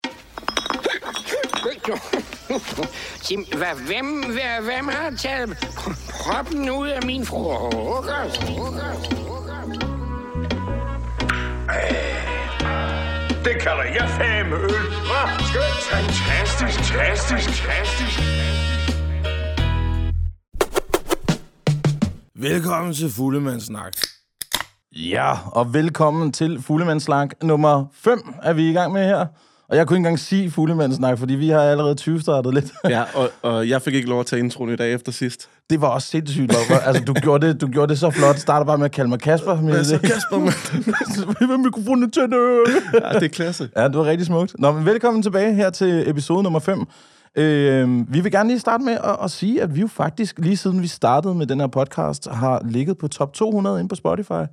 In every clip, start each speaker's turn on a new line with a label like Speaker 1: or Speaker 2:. Speaker 1: Sim, hvad, hvem, hvad, hvem har taget proppen ud af min frokost?
Speaker 2: Det kalder jeg fame øl. Hva? Skønt. Fantastisk, fantastisk, fantastisk.
Speaker 3: Velkommen til Fuglemands Snak.
Speaker 4: Ja, og velkommen til Fuglemandssnak nummer 5, er vi i gang med her. Og jeg kunne ikke engang sige Fuglemandssnak, fordi vi har allerede 20 startet lidt.
Speaker 5: Ja, og, og jeg fik ikke lov at tage introen i dag efter sidst.
Speaker 4: Det var også sindssygt, Lotte. Altså, du gjorde, det, du gjorde det så flot. Starter bare med at kalde mig Kasper. Men
Speaker 5: Ja, så Kasper,
Speaker 4: Kasper. Hvem mikrofonen til det?
Speaker 5: Ja, det er klasse.
Speaker 4: Ja, det var rigtig smukt. Nå, men velkommen tilbage her til episode nummer 5. Øh, vi vil gerne lige starte med at, at sige, at vi jo faktisk, lige siden vi startede med den her podcast, har ligget på top 200 inde på Spotify. Så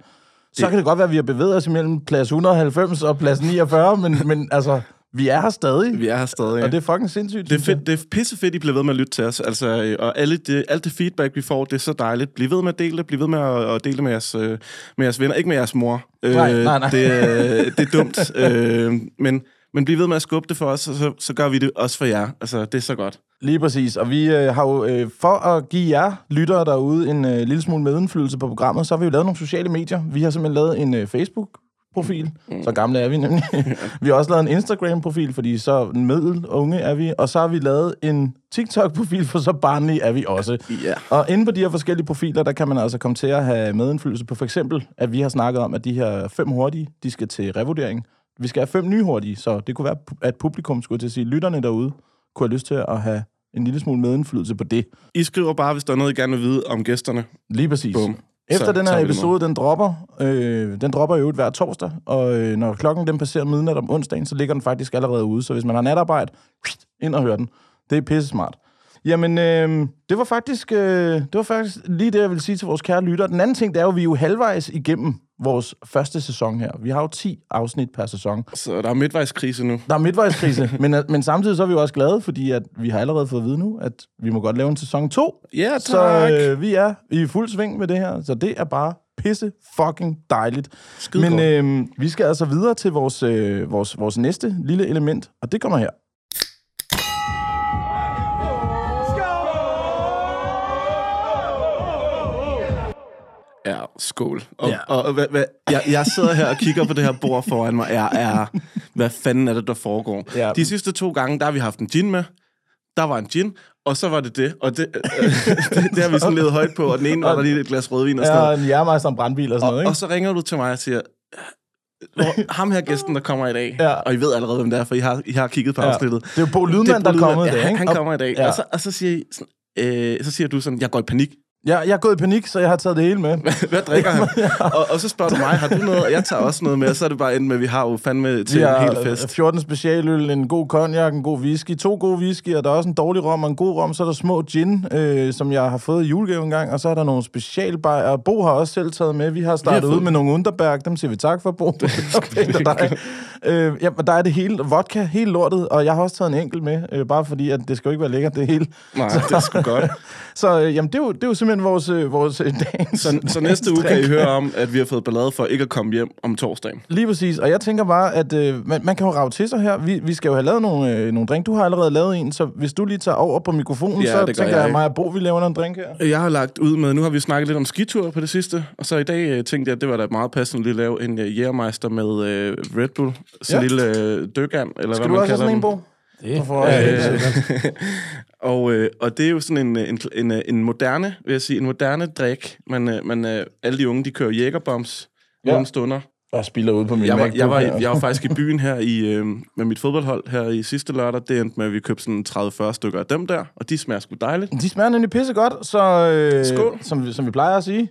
Speaker 4: det... kan det godt være, at vi har bevæget os imellem plads 190 og plads 49, men, men altså, vi er her stadig.
Speaker 5: Vi er her stadig.
Speaker 4: Og det er fucking sindssygt.
Speaker 5: Det er,
Speaker 4: synes jeg.
Speaker 5: fedt, det er pissefedt, I bliver ved med at lytte til os. Altså, øh, og alle det, alt det feedback, vi får, det er så dejligt. Bliv ved med at dele det. Bliv ved med at, at dele det med jeres, øh, med jeres venner. Ikke med jeres mor. Øh,
Speaker 4: Nej, nej, nej.
Speaker 5: Det, er- det er dumt. øh, men, men bliv ved med at skubbe det for os, og så, så gør vi det også for jer. Altså, det er så godt.
Speaker 4: Lige præcis, og vi øh, har jo, øh, for at give jer lyttere derude en øh, lille smule medindflydelse på programmet, så har vi jo lavet nogle sociale medier. Vi har simpelthen lavet en øh, Facebook-profil, så gamle er vi nemlig. vi har også lavet en Instagram-profil, fordi så middel unge er vi, og så har vi lavet en TikTok-profil, for så barnlige er vi også.
Speaker 5: Ja.
Speaker 4: Og inde på de her forskellige profiler, der kan man altså komme til at have medindflydelse på for eksempel, at vi har snakket om, at de her fem hurtige, de skal til revurdering. Vi skal have fem nye hurtige, så det kunne være, at publikum skulle jeg til at sige, lytterne derude kunne have lyst til at have en lille smule medindflydelse på det.
Speaker 5: I skriver bare, hvis der er noget, I gerne vil vide om gæsterne.
Speaker 4: Lige præcis.
Speaker 5: Bum.
Speaker 4: Efter
Speaker 5: Så
Speaker 4: den her
Speaker 5: tager vi det med.
Speaker 4: episode, den dropper, øh, den dropper jo øvrigt hver torsdag, og øh, når klokken den passerer midnat om onsdagen, så ligger den faktisk allerede ude, så hvis man har natarbejde, ind og hør den. Det er pisse smart. Jamen, øh, det, var faktisk, øh, det var faktisk lige det, jeg ville sige til vores kære lyttere. Den anden ting, det er jo, at vi er jo halvvejs igennem vores første sæson her. Vi har jo 10 afsnit per sæson.
Speaker 5: Så der er midtvejskrise nu.
Speaker 4: Der er midtvejskrise, men, øh, men samtidig så er vi jo også glade, fordi at vi har allerede fået at vide nu, at vi må godt lave en sæson 2.
Speaker 5: Ja, tak.
Speaker 4: Så øh, vi er i fuld sving med det her, så det er bare pisse fucking dejligt.
Speaker 5: Skide
Speaker 4: Men øh, vi skal altså videre til vores, øh, vores, vores næste lille element, og det kommer her.
Speaker 5: Ja, skål. Og, ja. og, og hvad, hvad, jeg, jeg sidder her og kigger på det her bord foran mig. Jeg er, hvad fanden er det, der foregår?
Speaker 4: Ja.
Speaker 5: Ja. De sidste to gange, der har vi haft en gin med. Der var en gin, og så var det det. Og det, øh, det, det har vi sådan levet højt på. Og den ene var der lige et glas rødvin og sådan
Speaker 4: Ja,
Speaker 5: noget.
Speaker 4: en jernmejster og en brandbil og sådan noget,
Speaker 5: Og,
Speaker 4: ikke?
Speaker 5: og så ringer du til mig og siger, hvor, ham her gæsten, der kommer i dag.
Speaker 4: Ja.
Speaker 5: Ja. Og I ved allerede, hvem det er, for I har, I har kigget på
Speaker 4: Ja.
Speaker 5: afsnittet.
Speaker 4: Det er jo Bo Lydman,
Speaker 5: Bo
Speaker 4: der er
Speaker 5: Lydman.
Speaker 4: kommet i dag, Altså-
Speaker 5: ja,
Speaker 4: ikke?
Speaker 5: Han
Speaker 4: Og-
Speaker 5: kommer i dag.
Speaker 4: ja.
Speaker 5: Ja. Og, så, og så, siger I sådan, øh, så siger du sådan, jeg går i panik.
Speaker 4: Jeg, jeg er gået i panik, så jeg har taget det hele med.
Speaker 5: Hvad drikker han? Og, og så spørger du mig, har du noget? Og jeg tager også noget med, og så er det bare endt med, at vi har jo fandme til
Speaker 4: Vi
Speaker 5: en
Speaker 4: har
Speaker 5: hel fest.
Speaker 4: 14 specialøl, en god cognac, en god whisky, to gode whisky, og der er også en dårlig rom og en god rom. Så er der små gin, øh, som jeg har fået i julegave engang, og så er der nogle specialbajer. Bo har også selv taget med. Vi har startet vi
Speaker 5: Vi
Speaker 4: har
Speaker 5: har
Speaker 4: ud
Speaker 5: fået-
Speaker 4: med nogle underberg. Dem siger vi tak for, Bo. okay, der, der, øh, ja, men der er det hele. Vodka, hele lortet, og jeg har også taget en enkelt med, øh, bare fordi at det skal jo ikke være lækkert, det hele.
Speaker 5: Nej, det er sgu godt.
Speaker 4: Så øh, jamen, det, er jo, det er jo simpelthen vores, øh, vores øh, dagens...
Speaker 5: Så, så næste uge kan I høre om, at vi har fået ballade for ikke at komme hjem om torsdagen.
Speaker 4: Lige præcis, og jeg tænker bare, at øh, man, man kan jo rave til sig her. Vi, vi skal jo have lavet nogle, øh, nogle drink. Du har allerede lavet en, så hvis du lige tager over på mikrofonen,
Speaker 5: Ja,
Speaker 4: så
Speaker 5: det gør
Speaker 4: tænker
Speaker 5: jeg,
Speaker 4: jeg, at
Speaker 5: ikke?
Speaker 4: mig og Bo, vi laver en drink her.
Speaker 5: Jeg har lagt ud med, nu har vi snakket lidt om skitur på det sidste, og så i dag øh, tænkte jeg, at det var da meget passende lige at lave en øh, jægermeister med øh, Red Bull. Så
Speaker 4: Ja.
Speaker 5: ja. lille øh, dykkern, eller
Speaker 4: Skal
Speaker 5: hvad
Speaker 4: du også
Speaker 5: man
Speaker 4: have
Speaker 5: kalder
Speaker 4: sådan en,
Speaker 5: den.
Speaker 4: Bo? Det får også
Speaker 5: Øh,
Speaker 4: helt sikkert.
Speaker 5: og, øh, og det er jo sådan en, øh, en, en, øh, en moderne, vil jeg sige, en moderne drik. Man, øh, man, øh, alle de unge, de kører jægerbombs
Speaker 4: Ja.
Speaker 5: ja. nogle stunder.
Speaker 4: Jeg spiller ud på min
Speaker 5: Jeg var,
Speaker 4: MacBook
Speaker 5: jeg, var,
Speaker 4: her.
Speaker 5: jeg var faktisk i byen her i, øh, med mit fodboldhold her i sidste lørdag. Det endte med, at vi købte sådan 30-40 stykker af dem der, og de smager sgu dejligt.
Speaker 4: De smager nemlig pissegodt, så øh,
Speaker 5: Skål.
Speaker 4: Som, vi- som vi plejer at sige.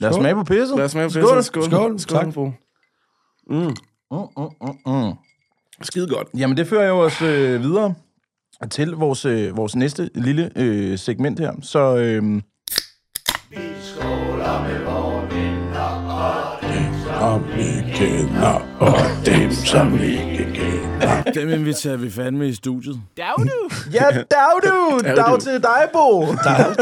Speaker 4: Lad os
Speaker 3: Skål.
Speaker 4: smage på pisset.
Speaker 5: Lad os smage på
Speaker 4: Skål.
Speaker 5: det. Skål.
Speaker 3: Skål.
Speaker 5: Skål.
Speaker 3: Tak.
Speaker 5: Bo.
Speaker 4: Mm,
Speaker 5: Skide godt.
Speaker 4: Jamen, det fører jo os øh, videre til vores, øh, vores næste lille øh, segment her. Så øh,
Speaker 3: Og vi kender, og dem, som vi ikke kender. Dem inviterer vi fandme i studiet.
Speaker 4: ja, dag du! Dag til dig, Bo!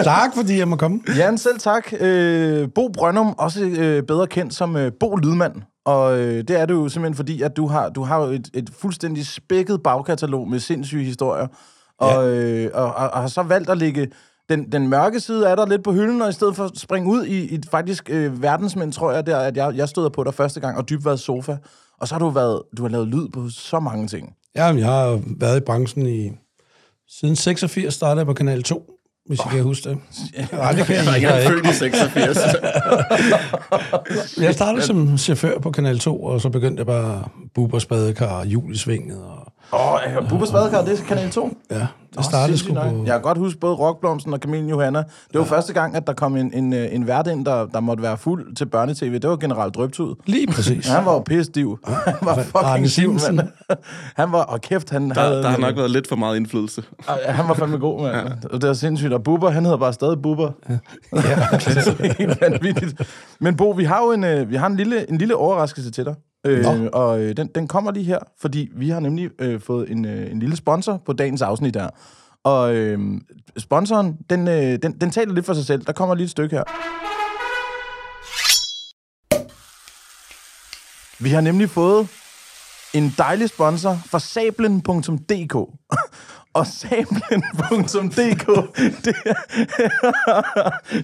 Speaker 3: Tak, fordi jeg må komme.
Speaker 4: Jan, selv tak. Øh, Bo Brøndum, også øh, bedre kendt som øh, Bo Lydmand. Og øh, det er du jo simpelthen fordi, at du har, du har jo et, et fuldstændig spækket bagkatalog med sindssyge historier. Og, øh, og, og, og har så valgt at lægge den, den mørke side af dig lidt på hylden, og i stedet for at springe ud i, i faktisk øh, verdensmænd, tror jeg, der, at jeg, jeg stod på dig første gang, og dybt været sofa. Og så har du, været, du har lavet lyd på så mange ting.
Speaker 6: Jamen, jeg har været i branchen i... Siden 86 startede jeg på Kanal 2, hvis oh. I kan huske det. Nej, det kan jeg ikke.
Speaker 5: Jeg er født i 86.
Speaker 6: Jeg startede som chauffør på Kanal 2, og så begyndte jeg bare buber, spadekar, hjul i svinget. Og,
Speaker 4: Åh, oh, Bubbers Badekar, det er Kanal 2.
Speaker 6: ja, det startede sgu på...
Speaker 4: Jeg kan godt huske både Rockblomsten og Camille Johanna. Det var ja. første gang, at der kom en, en, øh, en vært ind, der, der måtte være fuld til børnetv. Det var generelt Drøbtud.
Speaker 6: Lige præcis.
Speaker 4: Ja, han var jo pisse stiv. Han var fucking
Speaker 6: Arne
Speaker 4: stiv,
Speaker 6: Simonsen.
Speaker 4: mand. Han var, og kæft, han
Speaker 5: Der,
Speaker 4: havde...
Speaker 5: der har nok været lidt for meget indflydelse.
Speaker 4: Ej, Han var fandme god, mand. Ja. Det var sindssygt. Og Bubber, han hedder bare stadig Bubber. Ja. det er helt vanvittigt. Men Bo, vi har jo en, øh, vi har en, lille, en lille overraskelse til dig. Øh, og øh, den, den kommer lige her, fordi vi har nemlig øh, fået en, øh, en lille sponsor på dagens afsnit her. Og øh, sponsoren, den, øh, den, den taler lidt for sig selv. Der kommer lige et stykke her. Vi har nemlig fået en dejlig sponsor fra sablen.dk. Og sablen.dk, det,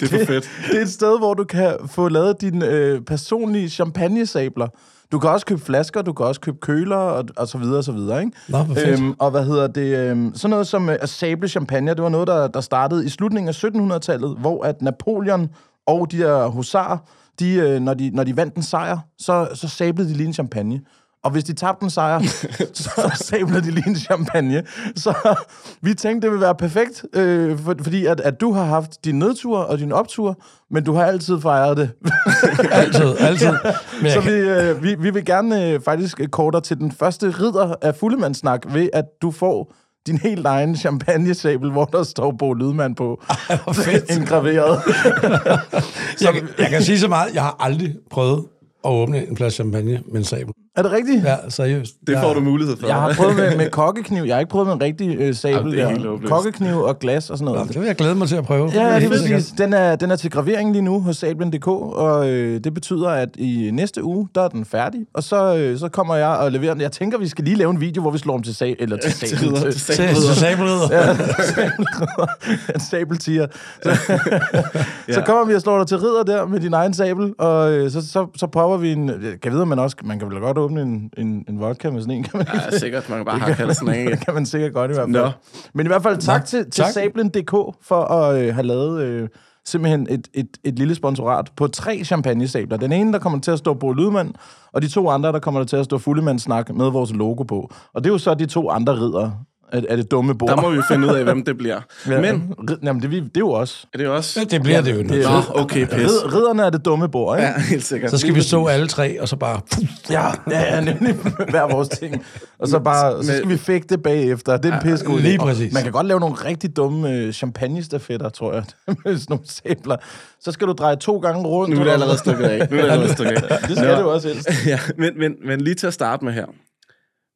Speaker 5: Det er for fedt.
Speaker 4: det er et sted, hvor du kan få lavet dine øh, personlige champagnesabler. Du kan også købe flasker, du kan også købe køler, og, og så videre, og så videre, ikke?
Speaker 6: Nå, hvor fedt.
Speaker 4: og hvad hedder det? Øhm, sådan noget som øh, at sable champagne, det var noget, der, der startede i slutningen af 1700-tallet, hvor at Napoleon og de der husarer, de, øh, når, de, når de vandt en sejr, så, så sablede de lige en champagne. Og hvis de tabte en sejr, så sablede de lige en champagne. Så vi tænkte, det ville være perfekt, øh, for, fordi at, at du har haft din nedtur og din optur, men du har altid fejret det.
Speaker 6: Altid, altid. Men jeg
Speaker 4: Så
Speaker 6: kan-
Speaker 4: vi, øh, vi, vi vil gerne øh, faktisk kåre dig til den første ridder af fuldemandssnak, ved at du får din helt egen champagnesabel, hvor der står Bo Lydmand på. Ej,
Speaker 6: hvor fedt.
Speaker 4: Indgraveret.
Speaker 6: jeg, kan- jeg kan sige så meget, jeg har aldrig prøvet at åbne en flaske champagne med en sabel.
Speaker 4: Er det rigtigt? Ja.
Speaker 6: Ja, seriøst.
Speaker 5: Det
Speaker 6: jeg,
Speaker 5: får du mulighed for.
Speaker 4: Jeg har prøvet med, med kokkekniv. Jeg har ikke prøvet med en rigtig øh, sabel.
Speaker 5: det er
Speaker 4: der.
Speaker 5: helt håbløst.
Speaker 4: kokkekniv og glas og sådan noget.
Speaker 6: Det vil jeg glæde mig til at prøve.
Speaker 4: Ja, ja,
Speaker 6: Helt
Speaker 4: det er
Speaker 6: sikkert.
Speaker 4: præcis. Den er, den er til gravering lige nu hos Sablen.dk, og øh, det betyder, at i næste uge, der er den færdig, og så, øh, så kommer jeg og leverer den. Jeg tænker, vi skal lige lave en video, hvor vi slår dem til sag, eller til sablen,
Speaker 5: ridder,
Speaker 4: til,
Speaker 5: til
Speaker 6: Til, til sabelridder.
Speaker 4: en sabeltiger. Så, så kommer vi og slår dig til ridder der med din egen sabel, og øh, så, så, så popper vi en... Jeg kan vide, man også... Man kan vel godt åbne en, en, en vodka med sådan en, kan man ikke?
Speaker 5: Ja, sikkert. Man kan bare hakke halsen af.
Speaker 4: Det kan man sikkert godt i hvert fald.
Speaker 5: Nå.
Speaker 4: Men i hvert fald tak til, til
Speaker 6: tak.
Speaker 4: Sablen.dk for at øh, have lavet øh, simpelthen et, et, et lille sponsorat på tre champagnesabler. Den ene, der kommer til at stå Bo Lydmand, og de to andre, der kommer der til at stå Fuldemand Snak med vores logo på. Og det er jo så de to andre ridder af, af det dumme bord.
Speaker 5: Der må vi jo finde ud af, hvem det bliver. Men
Speaker 4: Rid- Jamen, det, er vi- det er jo os.
Speaker 5: er det jo også...
Speaker 6: Ja, Det bliver det jo nu.
Speaker 5: Nå, okay, pis.
Speaker 4: Rid, ridderne er det dumme bord, ikke?
Speaker 5: Ja, helt sikkert.
Speaker 6: Så skal vi stå alle tre, og så bare...
Speaker 4: Ja, ja, ja nemlig hver vores ting. Og så, bare, så skal vi fægte det bagefter. Det er en pisse god idé.
Speaker 6: lige præcis.
Speaker 4: Man kan godt lave nogle rigtig dumme øh, champagnestafetter, tror jeg. med sådan nogle sæbler. Så skal du dreje to gange rundt.
Speaker 5: Nu er det allerede stukket af. Nu er det allerede stukket af.
Speaker 4: Det skal
Speaker 5: Nå.
Speaker 4: det jo også helst.
Speaker 5: ja, men, men, men lige til at starte med her.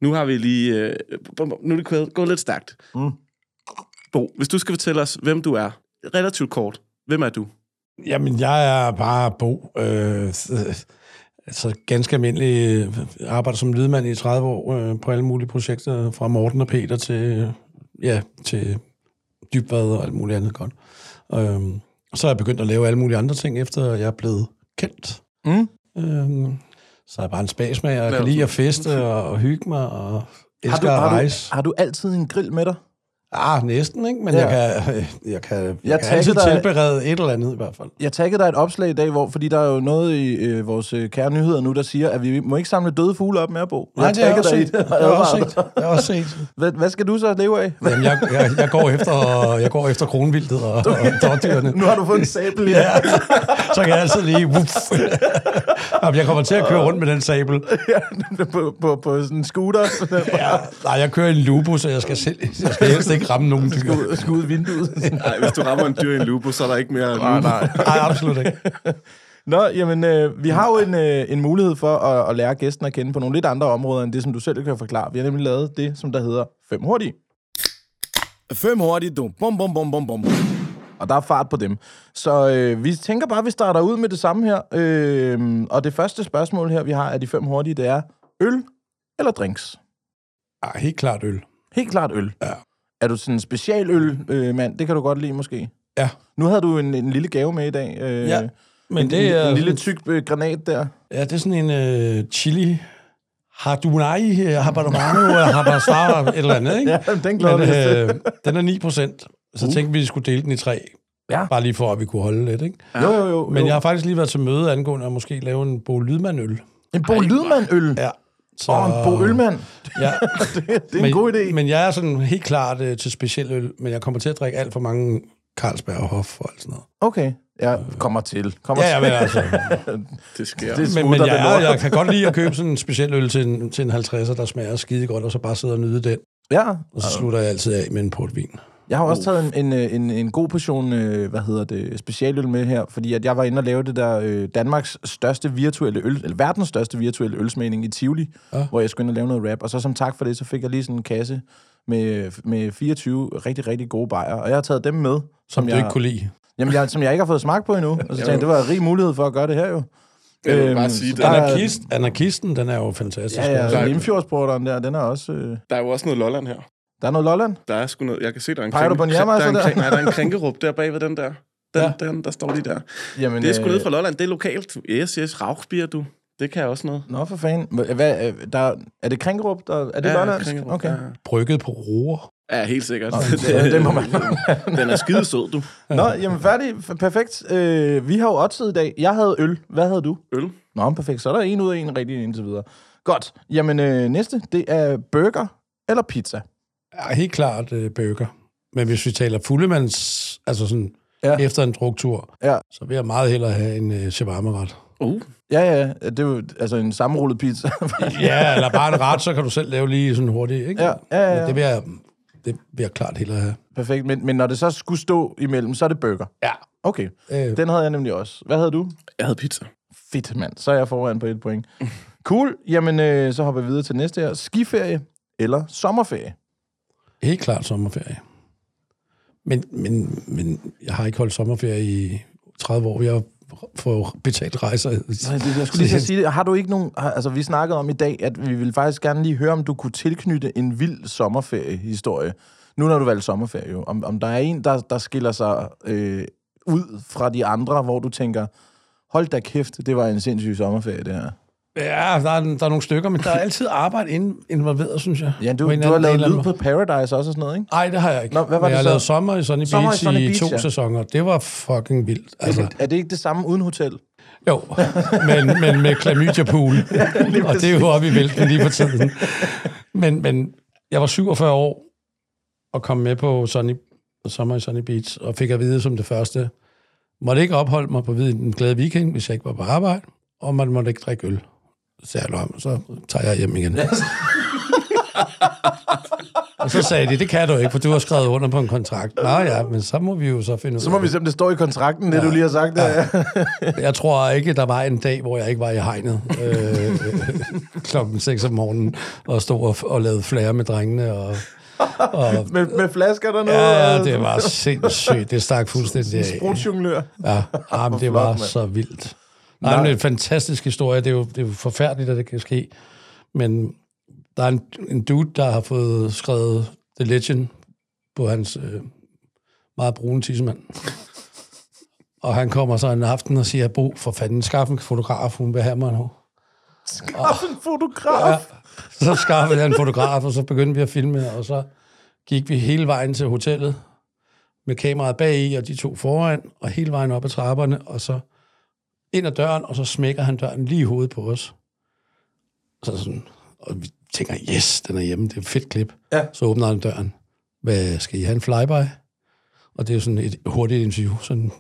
Speaker 5: Nu har vi lige... Øh, bum, bum, nu er det gået- gået lidt stærkt. Mm. Bo, hvis du skal fortælle os, hvem du er, relativt kort, hvem er du?
Speaker 6: Jamen, jeg er bare Bo. Øh, altså ganske almindelig øh, arbejder som lydmand i 30 år øh, på alle mulige projekter, fra Morten og Peter til, øh, ja, til dybvad og alt muligt andet godt. Øh, og så er jeg begyndt at lave alle mulige andre ting, efter jeg er blevet kendt. Mm. Øh, så er jeg bare en spasmager, jeg kan lide at feste og, og hygge mig, og
Speaker 4: Har du,
Speaker 6: elsker at
Speaker 4: har, du,
Speaker 6: rejse.
Speaker 4: har du altid en grill med dig?
Speaker 6: Ah, næsten, ikke? Men
Speaker 4: Ja.
Speaker 6: ja. jeg kan, jeg kan, jeg
Speaker 4: Jeg
Speaker 6: jeg kan altid
Speaker 4: taggede dig-
Speaker 6: tilberede et eller andet i hvert fald.
Speaker 4: Jeg taggede dig et opslag i dag, hvor, fordi der er jo noget i øh, vores øh, kære nyheder nu, der siger, at vi må ikke samle døde fugle op mere, Bo.
Speaker 6: Nej, det har
Speaker 4: taggede
Speaker 6: jeg også
Speaker 4: dig i
Speaker 6: set. Det har jeg også set. Det har jeg også set.
Speaker 4: Hvad, hvad skal du så leve af?
Speaker 6: Jamen, jeg, jeg, jeg, går efter, jeg går efter kronvildet og, og dårdyrene.
Speaker 4: Nu har du fået en sabel i
Speaker 6: Ja, så kan jeg altid lige... Wuff. Jamen, jeg kommer til at køre rundt med den sabel.
Speaker 4: ja. på, på, på sådan en scooter. Sådan der.
Speaker 6: Ja, nej, jeg kører i en lupo, så jeg skal, selv, jeg skal helst ikke ramme nogen dyr.
Speaker 4: Skud, skud vinduet.
Speaker 5: Nej, hvis du rammer en dyr i en lupo, så er der ikke mere nej, nej.
Speaker 6: Nej, absolut ikke.
Speaker 4: Nå, jamen, øh, vi har jo en, øh, en mulighed for at, at lære gæsten at kende på nogle lidt andre områder, end det, som du selv kan forklare. Vi har nemlig lavet det, som der hedder fem hurtige.
Speaker 3: Fem hurtigt, du. Bum, bum, bum, bum, bum.
Speaker 4: Og der er fart på dem. Så øh, vi tænker bare, at vi starter ud med det samme her. Øh, og det første spørgsmål her, vi har af de fem hurtige, det er øl eller drinks?
Speaker 6: Ej, Ah, helt klart øl.
Speaker 4: Helt klart øl. Ja. Er du sådan en specialøl, øh, mand? Det kan du godt lide måske.
Speaker 6: Ja.
Speaker 4: Nu havde du en, en lille gave med i dag. Øh,
Speaker 6: Ja,
Speaker 4: en,
Speaker 6: Men det
Speaker 4: en,
Speaker 6: er,
Speaker 4: en lille tyk øh, granat der.
Speaker 6: ja, det er sådan en øh, chili hardunai, øh, habanero, eller habanero, et eller andet, ikke?
Speaker 4: Ja, den glæder
Speaker 6: Men,
Speaker 4: vi os til.
Speaker 6: øh, den er 9 procent, så uh. tænkte vi, at vi skulle dele den i tre.
Speaker 4: Ja.
Speaker 6: Bare lige for, at vi kunne holde lidt, ikke?
Speaker 4: Jo, jo, jo.
Speaker 6: Men
Speaker 4: jo.
Speaker 6: jeg har faktisk lige været til møde angående at måske lave en Bo Lydmand-øl.
Speaker 4: En Bo Lydmand-øl.
Speaker 6: Ja. Så,
Speaker 4: Åh, en Bo Ølmand.
Speaker 6: Ja.
Speaker 4: Det er en god idé.
Speaker 6: Men jeg er sådan helt klart øh, til speciel øl, men jeg kommer til at drikke alt for mange Carlsberg og Hoff og alt sådan noget.
Speaker 4: Okay. Jeg kommer til. Kommer
Speaker 6: Ja, ja,
Speaker 4: til.
Speaker 6: men altså.
Speaker 5: Det sker.
Speaker 4: Det
Speaker 6: Men, men
Speaker 4: smutter
Speaker 6: jeg,
Speaker 4: det lort.
Speaker 6: er, jeg kan godt lide at købe sådan en speciel øl til en, til en 50'er, der smager skide godt, og så bare sidde og nyde den.
Speaker 4: Ja,
Speaker 6: Og så slutter jeg altid af med en portvin.
Speaker 4: Jeg har også taget en, en, øh, en, en god portion, øh, hvad hedder det, specialøl med her, fordi at jeg var inde og lave det der øh, Danmarks største virtuelle øl, eller verdens største virtuelle ølsmagning i Tivoli, ja. hvor jeg skulle ind og lave noget rap, og så som tak for det, så fik jeg lige sådan en kasse med, med 24 rigtig, rigtig gode bajer, og jeg har taget dem med, som,
Speaker 6: Som
Speaker 4: jeg,
Speaker 6: du ikke kunne lide.
Speaker 4: jamen, jeg, som jeg ikke har fået smag på endnu, og så tænkte jeg, det var en rig mulighed for at gøre det her jo.
Speaker 5: Jeg vil
Speaker 4: Øhm,
Speaker 5: bare sige, der, er-
Speaker 6: Anarkist, anarkisten, den er jo fantastisk.
Speaker 4: Ja,
Speaker 5: Tak.
Speaker 4: ja, Limfjordsporteren der, den er også, øh,
Speaker 5: der er jo også noget Lolland her.
Speaker 4: der er noget Lolland.
Speaker 5: Der er sgu noget... Jeg kan se, der er en
Speaker 4: Peger du på en
Speaker 5: der,
Speaker 4: Yamaha,
Speaker 5: er en
Speaker 4: så der?
Speaker 5: kræn- Nej, der er en krænkerup der bag ved den der. Den, ja. den, der står lige der.
Speaker 4: Jamen,
Speaker 5: Det er sgu
Speaker 4: øh,
Speaker 5: nede fra Lolland. Det er lokalt. Yes, yes. Rauchbier, du. Det kan jeg også noget.
Speaker 4: Nå, for fanden. Hva- Hvad, øh, der, er det Kringerup? Der, er det
Speaker 5: Ja,
Speaker 4: Lollandsk?
Speaker 5: Kringerup,
Speaker 4: Okay.
Speaker 5: ja.
Speaker 6: Brygget på roer.
Speaker 5: Ja, helt sikkert.
Speaker 4: Ja, det må man.
Speaker 5: Den er skidesød, du.
Speaker 4: Nå, jamen færdig. F- Perfekt. Øh, vi har jo oddset i dag. Jeg havde øl. Hvad havde du?
Speaker 5: Øl.
Speaker 4: Nå, men perfekt. Så er der en ud af en rigtig indtil videre. Godt. Jamen øh, næste, det er burger eller pizza.
Speaker 6: Ja, helt klart øh, bøger. Men hvis vi taler fuldemands, altså sådan
Speaker 4: Ja.
Speaker 6: ja. efter en druktur,
Speaker 4: Ja.
Speaker 6: så vil jeg meget hellere have en øh, shawarma-ret.
Speaker 5: Uh,
Speaker 4: Ja, ja. Det er jo altså en sammenrullet pizza.
Speaker 6: Ja, eller bare en ret, så kan du selv lave lige sådan hurtigt, ikke?
Speaker 4: Ja, ja, ja.
Speaker 6: Men det vil jeg, det vil jeg klart hellere have.
Speaker 4: perfekt. Men, men når det så skulle stå imellem, så er det burger.
Speaker 6: Ja.
Speaker 4: Okay.
Speaker 6: Øh,
Speaker 4: Den havde jeg nemlig også. Hvad havde du?
Speaker 5: jeg havde pizza.
Speaker 4: Fedt, mand. Så er jeg foran på et point. Cool. Jamen, øh, så hopper vi videre til næste her. Skiferie eller sommerferie?
Speaker 6: helt klart sommerferie. Men, men, men jeg har ikke holdt sommerferie i 30 år. Jeg får betalt rejser.
Speaker 4: Nej, det, Altså, jeg skulle lige til at sige det. Har du ikke nogen... har- Altså, vi snakkede om i dag, at vi ville faktisk gerne lige høre, om du kunne tilknytte en vild sommerferiehistorie. Nu når du valgte sommerferie jo. Om, om der er en, der, der skiller sig øh, ud fra de andre, hvor du tænker, hold da kæft, det var en sindssyg sommerferie, det her.
Speaker 6: Ja, der er, der er nogle stykker, men der er altid arbejde inden- involveret, synes jeg.
Speaker 4: Ja,
Speaker 6: På
Speaker 4: du,
Speaker 6: en eller
Speaker 4: du har
Speaker 6: anden- en
Speaker 4: lavet
Speaker 6: eller anden
Speaker 4: lyd
Speaker 6: måde.
Speaker 4: på Paradise også og sådan noget, ikke?
Speaker 6: Nej, det har jeg ikke.
Speaker 4: Nå, hvad var det
Speaker 6: Men jeg har
Speaker 4: så?
Speaker 6: lavet sommer i Sunny
Speaker 4: Sommer i
Speaker 6: Beach i,
Speaker 4: Sunny Beach,
Speaker 6: to
Speaker 4: ja.
Speaker 6: sæsoner. Det var fucking vildt. Altså,
Speaker 4: Er det ikke det samme uden hotel?
Speaker 6: jo, men, men med klamydia pool. og det er jo oppe i vælten lige for tiden. Men, men jeg var 47 år og kom med på Sunny, på sommer i Sunny Beach, og fik at vide som det første, måtte ikke opholde mig på Hvid- den glade weekend, hvis jeg ikke var på arbejde, og man måtte ikke drikke øl. Så jeg, "Nå, men så tager jeg hjem igen. og så sagde de, det kan du ikke, for du har skrevet under på en kontrakt. Nå ja, men så må vi jo så finde ud
Speaker 4: Så må
Speaker 6: af
Speaker 4: vi se, om det står i kontrakten, det du lige har sagt der. Ja.
Speaker 6: jeg tror ikke, der var en dag, hvor jeg ikke var i hegnet øh, klokken 6 om morgenen og stod og, og lavede flere med drengene. Og,
Speaker 4: med, med flasker dernede.
Speaker 6: ja,
Speaker 4: og-
Speaker 6: det var sindssygt. Det stak fuldstændig af.
Speaker 4: Brugsjonglør.
Speaker 6: Ja, ah, men det
Speaker 4: flot,
Speaker 6: var
Speaker 4: mand.
Speaker 6: så vildt. Nej, men det er en fantastisk historie. Det er jo, det er jo forfærdeligt, at det kan ske. Men der er en, en dude, der har fået skrevet The Legend på hans øh, meget brune tissemand. Og han kommer så en aften og siger, Bo, for fanden, skaff en fotograf, hun vil have mig nu.
Speaker 4: Skaff en fotograf.
Speaker 6: Så skaffede jeg en fotograf, og så begyndte vi at filme, og så gik vi hele vejen til hotellet med kameraet bag i og de to foran, og hele vejen op ad trapperne, og så ind ad døren, og så smækker han døren lige i hovedet på os. Så sådan, og vi tænker, yes, den er hjemme, det er et fedt klip.
Speaker 4: Ja.
Speaker 6: Så åbner han døren. Hvad skal I have en flyby? Og det er jo sådan et hurtigt interview, sådan,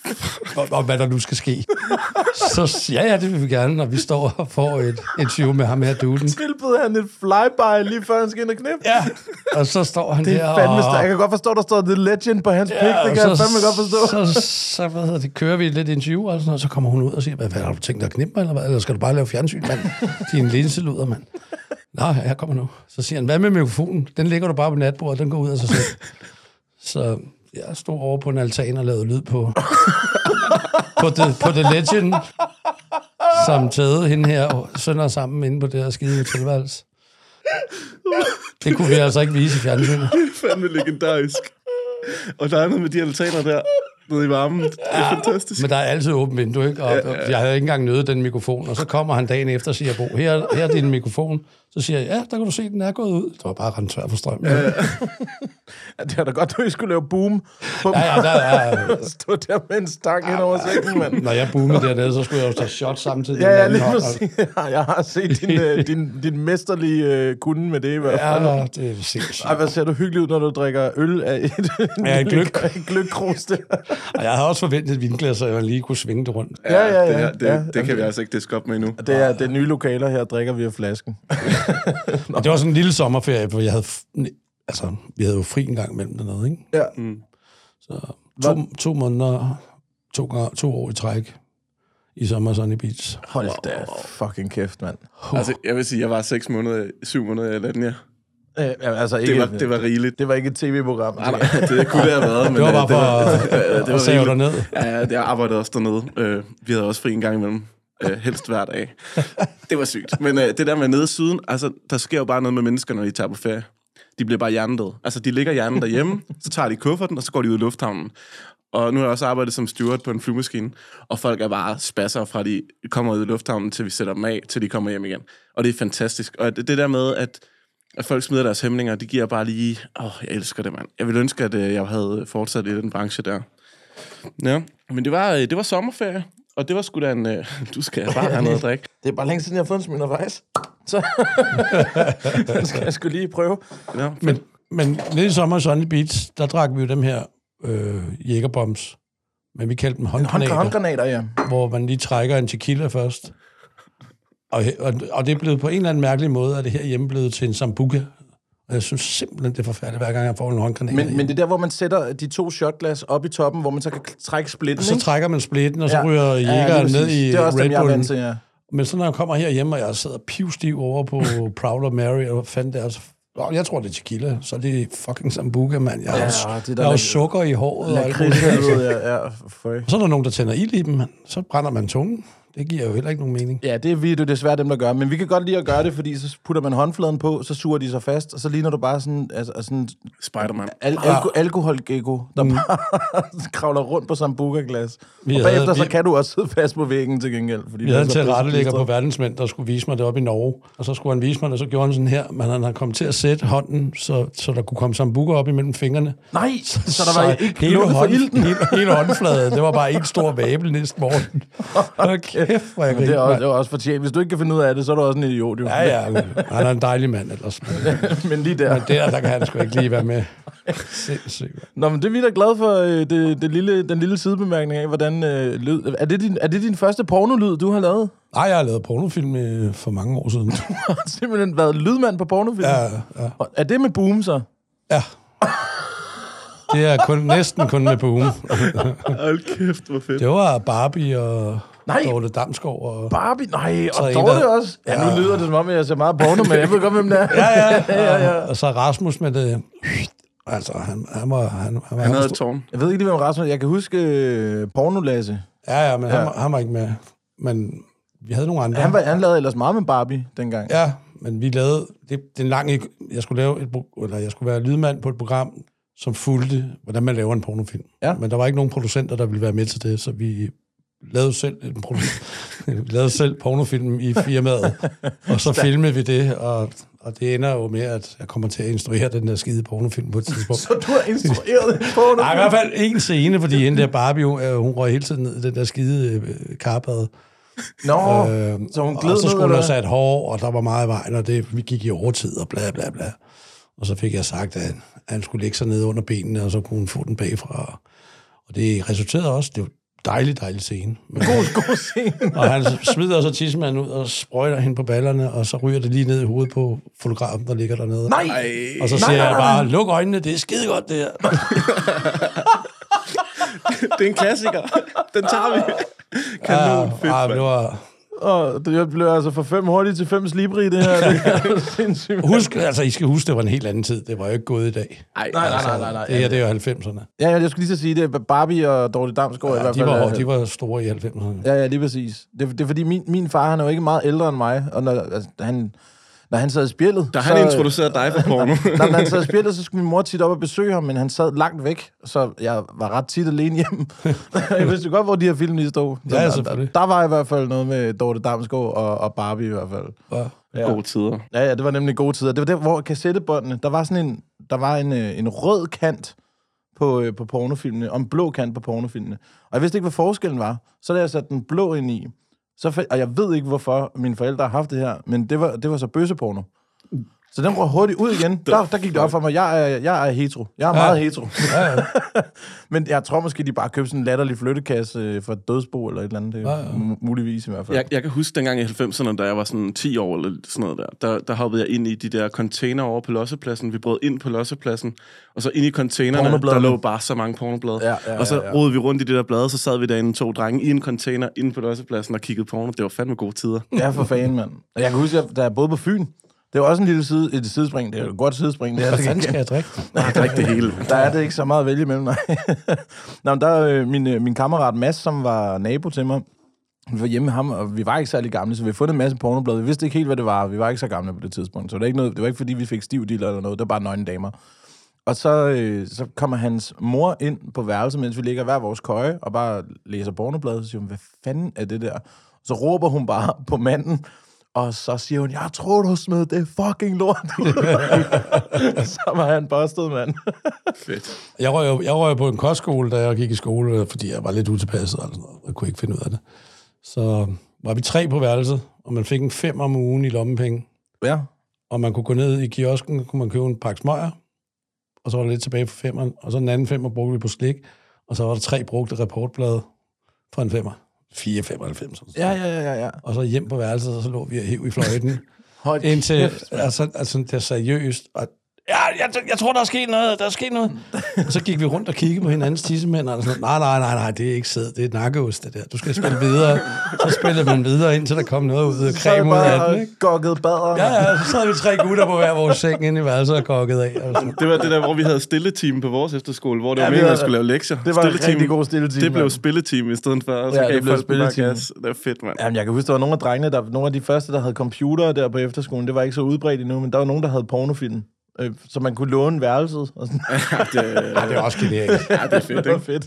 Speaker 6: om, om hvad der nu skal ske. Så ja, ja, det vil vi gerne, når vi står og får et interview med ham her, duden.
Speaker 4: Tilbød han et flyby lige før han skal ind og knæppe.
Speaker 6: Ja. Og så står han
Speaker 4: Det
Speaker 6: der
Speaker 4: er fandme
Speaker 6: og...
Speaker 4: stærkt. Jeg kan godt forstå, der står The Legend på hans ja, pik. Det
Speaker 6: og
Speaker 4: kan jeg fandme godt forstå.
Speaker 6: Så, så, så hvad hedder det, kører vi lidt interview og sådan noget, så kommer hun ud og siger, hvad, hvad har du tænkt dig at knippe mig, eller hvad? Eller skal du bare lave fjernsyn, mand? Din linseluder, mand. Nå, jeg kommer nu. Så siger han, hvad med mikrofonen? Den ligger du bare på natbordet, den går ud af sig selv. Så jeg stod over på en altan og lavede lyd på, på, the, på the Legend, som tæde hende her og sønder sammen inde på det her skide hotelværelse. Det kunne vi altså ikke vise i fjernsynet.
Speaker 5: Det er fandme legendarisk. Og der er noget med de altaner der, nede i varmen. Det er fantastisk.
Speaker 6: Men der er altid åbent vindue, ikke? Og og jeg havde ikke engang nødt den mikrofon. Og så kommer han dagen efter og siger, Bo, her, her er din mikrofon. Så siger jeg, ja, der kan du se, den er gået ud. Det var bare rent tør for strøm. Ja, ja,
Speaker 4: Det er da godt, at I skulle lave boom. På
Speaker 6: ja der er,
Speaker 4: Stå der med en stang hen over sengen, mand.
Speaker 6: når jeg boomede dernede, så skulle jeg jo tage shots samtidig.
Speaker 4: Ja,
Speaker 6: med den
Speaker 4: ja,
Speaker 6: anden
Speaker 4: lige
Speaker 6: hånd, og-
Speaker 4: præcis. Jeg har set din, øh, din, din mesterlige øh, kunde med det i hvert fald.
Speaker 6: Ja, nå, det er sindssygt.
Speaker 4: Ej, hvad ser du hyggelig ud, når du drikker øl af et,
Speaker 6: Ja, en gløgg.
Speaker 4: en gløgkrus der.
Speaker 6: Og jeg havde også forventet et vinglas, så jeg lige kunne svinge det rundt.
Speaker 4: Ja, ja,
Speaker 5: Det,
Speaker 4: ja.
Speaker 5: her, det,
Speaker 4: ja.
Speaker 5: det kan vi altså ikke diske op med endnu.
Speaker 4: Det er, det er nye lokaler her, drikker vi af flasken.
Speaker 6: Og det var sådan en lille sommerferie, hvor jeg havde... f- ne- Altså, vi havde jo fri en gang imellem dernede, ikke?
Speaker 4: Ja.
Speaker 6: Så to, to måneder, to, gange- to år i træk i sommer Sunny Beach.
Speaker 4: Hold da fucking kæft, mand.
Speaker 5: Altså, jeg vil sige, jeg var 6 måneder, 7 måneder i Latvia.
Speaker 4: Øh, jamen, altså, ikke,
Speaker 5: Det var, det var rigeligt.
Speaker 4: det var ikke et tv-program.
Speaker 5: Nej, nej, det kunne det have været, men
Speaker 6: Det var
Speaker 5: øh,
Speaker 6: bare for
Speaker 5: øh,
Speaker 6: at- at save dig ned.
Speaker 5: Ja, ja, det jeg arbejdede også dernede. Øh, Vi havde også fri en gang imellem. Øh, Helst hver dag. Det var sygt. Men øh, det der med nede i syden, altså, der sker jo bare noget med mennesker, når de tager på ferie. De bliver bare hjernedøde. Altså, de ligger hjernen derhjemme, så tager de kufferten, og så går de ud i lufthavnen. Og nu har jeg også arbejdet som steward på en flyvemaskine, og folk er bare spasser fra de kommer ud i lufthavnen, til vi sætter dem af, til de kommer hjem igen. Og det er fantastisk. Og det, det der med, at at folk smider deres hæmninger, det giver bare lige... Åh, oh, jeg elsker det, mand. Jeg ville ønske, at øh, jeg havde fortsat i den branche der. Ja, men det var, øh, det var sommerferie, og det var sgu da en... Øh, du skal bare have noget at drikke.
Speaker 4: Det er bare længe siden, jeg har fået en smid undervejs. Så skal jeg skulle lige prøve.
Speaker 5: Ja, men,
Speaker 6: Men, men lidt i sommer Sunny Beach, der drak vi jo dem her øh, jækkerbombs. Men vi kaldte dem
Speaker 4: Hånd,
Speaker 6: håndgranater,
Speaker 4: håndgranater, ja.
Speaker 6: hvor man lige trækker en tequila først. Og, og, og det er blevet på en eller anden mærkelig måde, at det her hjemme blevet til en sambuca. Og jeg synes simpelthen, det er forfærdeligt, hver gang jeg får en håndgranat.
Speaker 4: Men, men det er der, hvor man sætter de to shotglas op i toppen, hvor man så kan k- trække splitten,
Speaker 6: så
Speaker 4: ikke?
Speaker 6: trækker man splitten, og så ryger
Speaker 4: Ja, lige
Speaker 6: jægeren ned
Speaker 4: præcis.
Speaker 6: i
Speaker 4: Det er også
Speaker 6: Red
Speaker 4: dem, jeg er
Speaker 6: Bullen.
Speaker 4: vant til, ja.
Speaker 6: Men så når jeg kommer herhjemme, og jeg sidder pivstiv over på Prowler Mary, og hvad fanden det er, så... Nå, jeg tror, det er tequila, så er det fucking sambuca, mand. Jeg har,
Speaker 4: Ja,
Speaker 6: ja,
Speaker 4: det er
Speaker 6: det
Speaker 4: der
Speaker 6: jeg har jo
Speaker 4: lak-
Speaker 6: sukker i håret og alt muligt.
Speaker 4: Lakridshelvede, ja. ja føj.
Speaker 6: Så er der nogen, der tænder ild i dem, mand. Så brænder man tungen. Det giver jo heller ikke nogen mening.
Speaker 4: Ja, det er vi det er desværre dem, der gør. Men vi kan godt lide at gøre det, fordi så putter man håndfladen på, så suger de sig fast, og så ligner du bare sådan, altså, altså sådan
Speaker 5: Spider-Man.
Speaker 4: al- alko- alkoholgecko, der mm. bare kravler rundt på sambuca-glas. Og
Speaker 6: Vi
Speaker 4: bagefter
Speaker 6: havde-
Speaker 4: så
Speaker 6: vi-
Speaker 4: kan du også sidde fast på væggen til gengæld. Fordi
Speaker 6: Vi havde en tilrettelægger på
Speaker 4: væggen.
Speaker 6: verdensmænd, der skulle vise mig det op i Norge. Og så skulle han vise mig det, og så gjorde han sådan her. Men han har kommet til at sætte hånden, så, så der kunne komme sambuca op imellem fingrene.
Speaker 4: Nej, så der var ikke hele for
Speaker 6: hånd-
Speaker 4: ilten.
Speaker 6: hele, hele håndfladen, det var bare en stor vabel næste morgen. Hold kæft, hvor jeg
Speaker 4: Men det er,
Speaker 6: grinte,
Speaker 4: også,
Speaker 6: mand.
Speaker 4: det er også fortjent. Hvis du ikke kan finde ud af det, så er du også en idiot, jo.
Speaker 6: Ja, ja, men han er en dejlig mand ellers. Men
Speaker 4: Men lige der.
Speaker 6: det der, der kan han sgu ikke lige være med. Sindssygt. mand.
Speaker 4: Nå, men det er vi da glade for, øh, det, det lille, den lille sidebemærkning af, hvordan øh, lød. Er det, din, er det din første pornolyd, du har lavet?
Speaker 6: Nej, jeg har lavet pornofilm øh, for mange år siden.
Speaker 4: Du har simpelthen været lydmand på pornofilm?
Speaker 6: Ja, ja.
Speaker 4: Og Er det med boom, så?
Speaker 6: ja. Det er kun, næsten kun med på ugen.
Speaker 5: Hold kæft, hvor fedt.
Speaker 6: Det var Barbie og
Speaker 4: Nej.
Speaker 6: Dorte Damsgaard. Og...
Speaker 4: Barbie? Nej,
Speaker 6: Så
Speaker 4: og
Speaker 6: en,
Speaker 4: Dorte
Speaker 6: der-
Speaker 4: også? Ja, nu lyder det som om, jeg ser meget porno, men jeg ved godt, hvem det er.
Speaker 6: Ja, ja, ja, ja. Og så Rasmus med det... Altså, han, han var... Han, han, var
Speaker 5: Han havde et tårn.
Speaker 4: Jeg ved ikke lige, hvem Rasmus er. Jeg kan huske øh, pornolasse.
Speaker 6: Ja, ja, men ja. Han, var- han var ikke med. Men vi havde nogle andre.
Speaker 4: Han, var, han lavede ellers meget med Barbie dengang.
Speaker 6: Ja, men vi lavede... Det, det er en lang... Jeg skulle, lave et, pro- eller jeg skulle være lydmand på et program, som fulgte, hvordan man laver en pornofilm.
Speaker 4: Ja.
Speaker 6: Men der var ikke nogen producenter, der ville være med til det, så vi lavede selv, en produ- vi lavede selv pornofilm i firmaet, og så filmede vi det, og, og det ender jo med, at jeg kommer til at instruere den der skide pornofilm på et tidspunkt.
Speaker 4: Så du har instrueret en porno?
Speaker 6: Nej, i hvert fald ikke en scene, fordi hende der Barbie, hun, øh, hun røg hele tiden ned i den der skide øh, karpade.
Speaker 4: Nå,
Speaker 6: Øh,
Speaker 4: så hun
Speaker 6: og
Speaker 4: gled
Speaker 6: så
Speaker 4: ned,
Speaker 6: skulle hun
Speaker 4: eller
Speaker 6: have
Speaker 4: hvad?
Speaker 6: sat hår, og der var meget i vejen, og det, vi gik i overtid, og bla bla bla. Og så fik jeg sagt, at, at han skulle lægge sig ned under benene, og så kunne hun få den bagfra. Og det resulterede også, det var en dejlig, dejlig scene. Men,
Speaker 4: God, god scene.
Speaker 6: og han smider så tissemanden ud og sprøjter hende på ballerne, og så ryger det lige ned i hovedet på fotografen, der ligger dernede.
Speaker 4: Nej!
Speaker 6: Og så
Speaker 4: Nej,
Speaker 6: siger
Speaker 4: nej,
Speaker 6: jeg
Speaker 4: nej,
Speaker 6: bare, luk øjnene, det er skide godt det her.
Speaker 5: Det er en klassiker. Den tager vi. Kanon, fedt,
Speaker 6: Ah,
Speaker 5: mand.
Speaker 6: det var,
Speaker 4: Og det blev altså fra fem hurtigt til fem slibrige, det her. Det er sindssygt.
Speaker 6: Husk, altså, I skal huske, det var en helt anden tid. Det var jo ikke gået i dag.
Speaker 5: Ej,
Speaker 4: Nej, nej,
Speaker 5: altså,
Speaker 4: nej, nej, nej.
Speaker 6: Det her, det er jo 90'erne.
Speaker 4: Ja, ja, jeg skulle lige så sige det. er Barbie og Dorte Damsgaard ja, i hvert
Speaker 6: De
Speaker 4: fald.
Speaker 6: var,
Speaker 4: er-
Speaker 6: de var store i 90'erne.
Speaker 4: Ja, ja, lige præcis. Det, er- det er fordi, min, min far, han er jo ikke meget ældre end mig, og når, altså, han, når han sad i spjældet...
Speaker 5: Da han introducerede dig for porno.
Speaker 4: Når han sad i spjældet, så skulle min mor tit op og besøge ham, men han sad langt væk, så jeg var ret tit alene hjemme. jeg vidste jo godt, hvor de her film lige stod.
Speaker 6: Ja,
Speaker 4: der-
Speaker 6: selvfølgelig.
Speaker 4: Der var i hvert fald noget med Dorte Damsgaard og, og Barbie i hvert fald.
Speaker 6: Ja.
Speaker 5: Gode tider.
Speaker 4: Ja, ja, det var nemlig gode tider. Det var der, hvor kassettebåndene, der var sådan en, der var en, øh, en rød kant på, øh, på pornofilmene, og en blå kant på pornofilmene. Og jeg vidste ikke, hvad forskellen var. Så da jeg satte den blå ind i, så fa- og jeg ved ikke, hvorfor mine forældre har haft det her, men det var, det var så bøseporno. Så den røg hurtigt ud igen. Der, der gik det op for mig, jeg er, jeg er hetero. Jeg er meget hetero. men jeg tror måske, de bare købte sådan en latterlig flyttekasse øh, fra et dødsbo eller et eller andet. Det er mu- muligvis i hvert fald.
Speaker 5: Jeg, jeg kan huske dengang i 90'erne, da jeg var sådan 10 år eller sådan noget der, der, der hoppede jeg ind i de der container over på Lossepladsen. Vi brød ind på Lossepladsen, og så ind i containerne, der
Speaker 4: Pornobladene.
Speaker 5: lå bare så mange pornoblade.
Speaker 4: Ja, ja,
Speaker 5: og så
Speaker 4: ja, ja.
Speaker 5: rodede vi rundt i det der blade, så sad vi derinde to drenge i en container inde på Lossepladsen og kiggede porno. Det var fandme gode tider.
Speaker 4: Ja, for fanden, mand. Og jeg kan huske, at da jeg boede på Fyn, det var også en lille side, et sidespring. Det er jo et godt sidespring. Det er,
Speaker 6: Hvad
Speaker 4: det
Speaker 6: fanden skal
Speaker 4: ikke.
Speaker 6: jeg drikke?
Speaker 5: Jeg drak det hele.
Speaker 4: der er det ikke så meget at vælge imellem, nej. Nå, men der øh, min, øh, min kammerat Mads, som var nabo til mig, vi var hjemme med ham, og vi var ikke særlig gamle, så vi havde fundet en masse pornoblade. Vi vidste ikke helt, hvad det var. Vi var ikke så gamle på det tidspunkt. Så det var ikke, noget, det var ikke fordi, vi fik stiv dealer eller noget. Det var bare nøgne damer. Og så, øh, så kommer hans mor ind på værelset, mens vi ligger hver vores køje og bare læser pornobladet. Så siger hun, hvad fanden er det der? Så råber hun bare på manden, og så siger hun, jeg tror, du smed det fucking lort ud." så var han bustet, mand.
Speaker 5: Fedt.
Speaker 6: Jeg røg, jo- jeg røg jo på en kostskole, da jeg gik i skole, øh, fordi jeg var lidt utilpasset og sådan noget. Jeg kunne ikke finde ud af det. Så var vi tre på værelset, og man fik en fem om ugen i lommepenge.
Speaker 4: Ja.
Speaker 6: Og man kunne gå ned i kiosken, kunne man købe en pakke smøger, og så var der lidt tilbage på femmeren, og så den anden femmer brugte vi på slik, og så var der tre brugte reportblade for en femmer. 4,95. sådan.
Speaker 4: Ja, ja, ja, ja.
Speaker 6: Og så hjem på værelset, og så lå vi og hev i fløjten.
Speaker 4: Hold
Speaker 6: Indtil,
Speaker 4: kæft, mand.
Speaker 6: altså, altså, det er seriøst. Og, ja, jeg, t- jeg tror, der er sket noget, der er sket noget. Og så gik vi rundt og kiggede på hinandens tissemænd, og sådan, nej, nej, nej, nej, det er ikke sæd, det er nakkeost, det der. Du skal spille videre. Så spillede man videre, indtil der kom noget ud af
Speaker 4: Så er det
Speaker 6: creme ud af den,
Speaker 4: bare
Speaker 6: ikke?
Speaker 4: gokket bader.
Speaker 6: Ja, ja, så sad vi tre gutter på hver vores seng inde i værelset og kokkede af. Og sådan.
Speaker 5: Det var det der, hvor vi havde stilleteam på vores efterskole, hvor det
Speaker 4: Ja,
Speaker 5: var
Speaker 4: vi
Speaker 5: meningen, at
Speaker 4: havde-
Speaker 5: man skulle lave lektier.
Speaker 4: det var en
Speaker 5: Stilleteam.
Speaker 4: rigtig god stilleteam,
Speaker 5: Det blev
Speaker 4: mand.
Speaker 5: spilleteam i stedet for, og så
Speaker 4: Ja,
Speaker 5: ja, gav
Speaker 4: det blev
Speaker 5: folk bare
Speaker 4: spilleteam.
Speaker 5: gas. Det var fedt, mand.
Speaker 4: Jamen, jeg kan huske, der var nogle af drengene, der, nogle af de første, der havde computere der på efterskolen. Det var ikke så udbredt endnu, men der var nogen, der havde pornofilm. Øh, så man kunne låne værelset. Og sådan.
Speaker 5: det,
Speaker 6: Ja, det er også genialt.
Speaker 5: ja, det er fedt,
Speaker 4: det var
Speaker 5: ikke?
Speaker 4: fedt.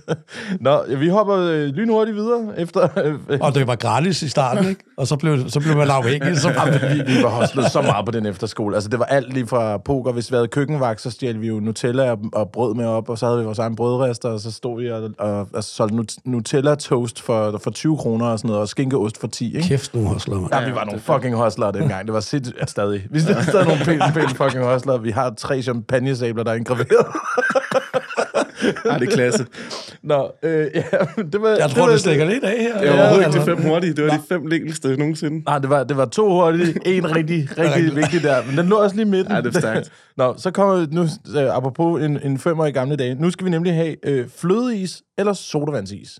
Speaker 4: Nå, ja, vi hopper øh, lynhurtigt videre efter... Øh,
Speaker 6: Og det var gratis i starten, ikke? Og så blev, så blev man afhængig. Så var man
Speaker 4: vi, vi var hostlet så meget på den efterskole. Altså, det var alt lige fra poker. Hvis vi havde køkkenvagt, så stjal vi jo Nutella og, og brød med op, og så havde vi vores egen brødrester, og så stod vi og, og, og solgte Nut- Nutella-toast for, for 20 kroner og sådan noget, og skinkeost for 10, ikke?
Speaker 6: kæft nu, Hosler, mand.
Speaker 4: Ja, vi var nogle fucking hustlere dengang. Det var sindssygt. Ja, stadig. Vi er stadig nogle pæne, pæne fucking hustlere. Vi har tre champagnesabler, der er indgraveret.
Speaker 5: Ja, det er klasse.
Speaker 4: Nå, øh, ja, men det var...
Speaker 6: Jeg tror,
Speaker 4: var-
Speaker 6: det stikker lidt af her.
Speaker 5: Det var overhovedet ikke de
Speaker 6: altså.
Speaker 5: fem hurtige. Det var de fem længste nogensinde.
Speaker 4: Nej, det var, det var to hurtige, en rigtig, rigtig vigtig der. Men den lå også lige i midten.
Speaker 5: Ja, det er stærkt.
Speaker 4: Nå, så kommer vi nu, øh, apropos en, en femmer i gamle dage. Nu skal vi nemlig have øh, flødeis eller sodavandsis.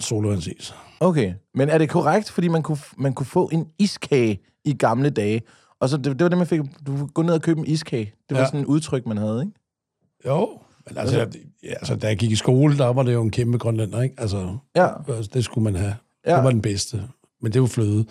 Speaker 6: Solvandsis.
Speaker 4: Okay, men er det korrekt, fordi man kunne, f- man kunne få en iskage i gamle dage? Og så det, det var det, man fik. Du kunne gå ned og købe en iskage. Det var
Speaker 6: Ja.
Speaker 4: sådan et udtryk, man havde, ikke?
Speaker 6: Jo, men altså, jeg, ja, altså, da jeg gik i skole, der var det jo en kæmpe grønlænder, ikke? Altså,
Speaker 4: Ja.
Speaker 6: altså, det skulle man have.
Speaker 4: Ja.
Speaker 6: Ja. Det var den bedste. Men det var fløde.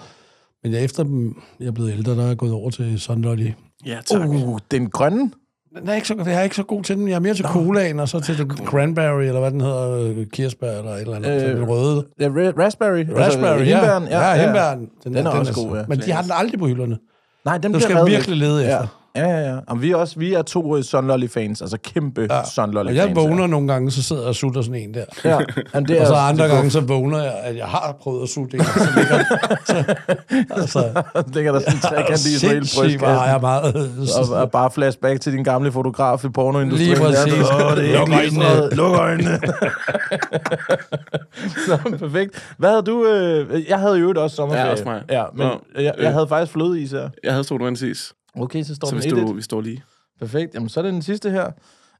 Speaker 6: Men jeg, efter dem- jeg er blevet ældre, der er jeg gået over til Sunlolly.
Speaker 5: Ja, tak.
Speaker 4: Uh, den grønne?
Speaker 6: Den er ikke så, jeg er ikke så god til den. Jeg er mere til colaen, og så til den cranberry, eller hvad den hedder, øh, kirsebær, eller et eller andet. Øh, den røde.
Speaker 4: Ja, ra- raspberry.
Speaker 6: Raspberry,
Speaker 4: altså,
Speaker 6: ja.
Speaker 4: hindbæren,
Speaker 6: ja, ja, hindbæren.
Speaker 4: Den er også god, ja.
Speaker 6: Men de har den aldrig på hylderne.
Speaker 4: Nej, den
Speaker 6: Du
Speaker 4: bliver
Speaker 6: skal
Speaker 4: reddet
Speaker 6: virkelig
Speaker 4: væk.
Speaker 6: lede efter.
Speaker 4: Ja, ja, ja. ja. Jamen, vi, er også, vi er to uh, Sunlolly-fans, altså kæmpe ja.
Speaker 6: Og
Speaker 4: Sunlolly-fans.
Speaker 6: jeg vågner nogle gange, så sidder jeg og sutter sådan en der.
Speaker 4: Ja. Ja. Jamen, det er,
Speaker 6: Og så
Speaker 4: det
Speaker 6: andre
Speaker 4: er-
Speaker 6: gange, så vågner jeg, at jeg har prøvet at sutte en, og så ligger så, altså,
Speaker 4: Så ligger der sådan en trekant i Israel
Speaker 6: Sindssygt, hvor har jeg meget...
Speaker 4: og, og bare flashback til din gamle fotograf i pornoindustrien.
Speaker 6: Lige præcis.
Speaker 4: Der, "Åh, det er
Speaker 6: Luk
Speaker 4: ikke lige sådan
Speaker 6: øjnene."
Speaker 4: noget. Luk øjnene. så, perfekt. Hvad havde du? Øh, jeg havde jo også sommerferie.
Speaker 5: også mig.
Speaker 4: Ja, men
Speaker 5: Nå,
Speaker 4: jeg, jeg,
Speaker 5: øh.
Speaker 4: havde faktisk fløde i her.
Speaker 5: Jeg havde sodavandsis,
Speaker 4: Okay, så står
Speaker 5: så
Speaker 4: den
Speaker 5: vi
Speaker 4: 1-1.
Speaker 5: stod, vi står lige.
Speaker 4: Perfekt. Jamen, så er det den sidste her.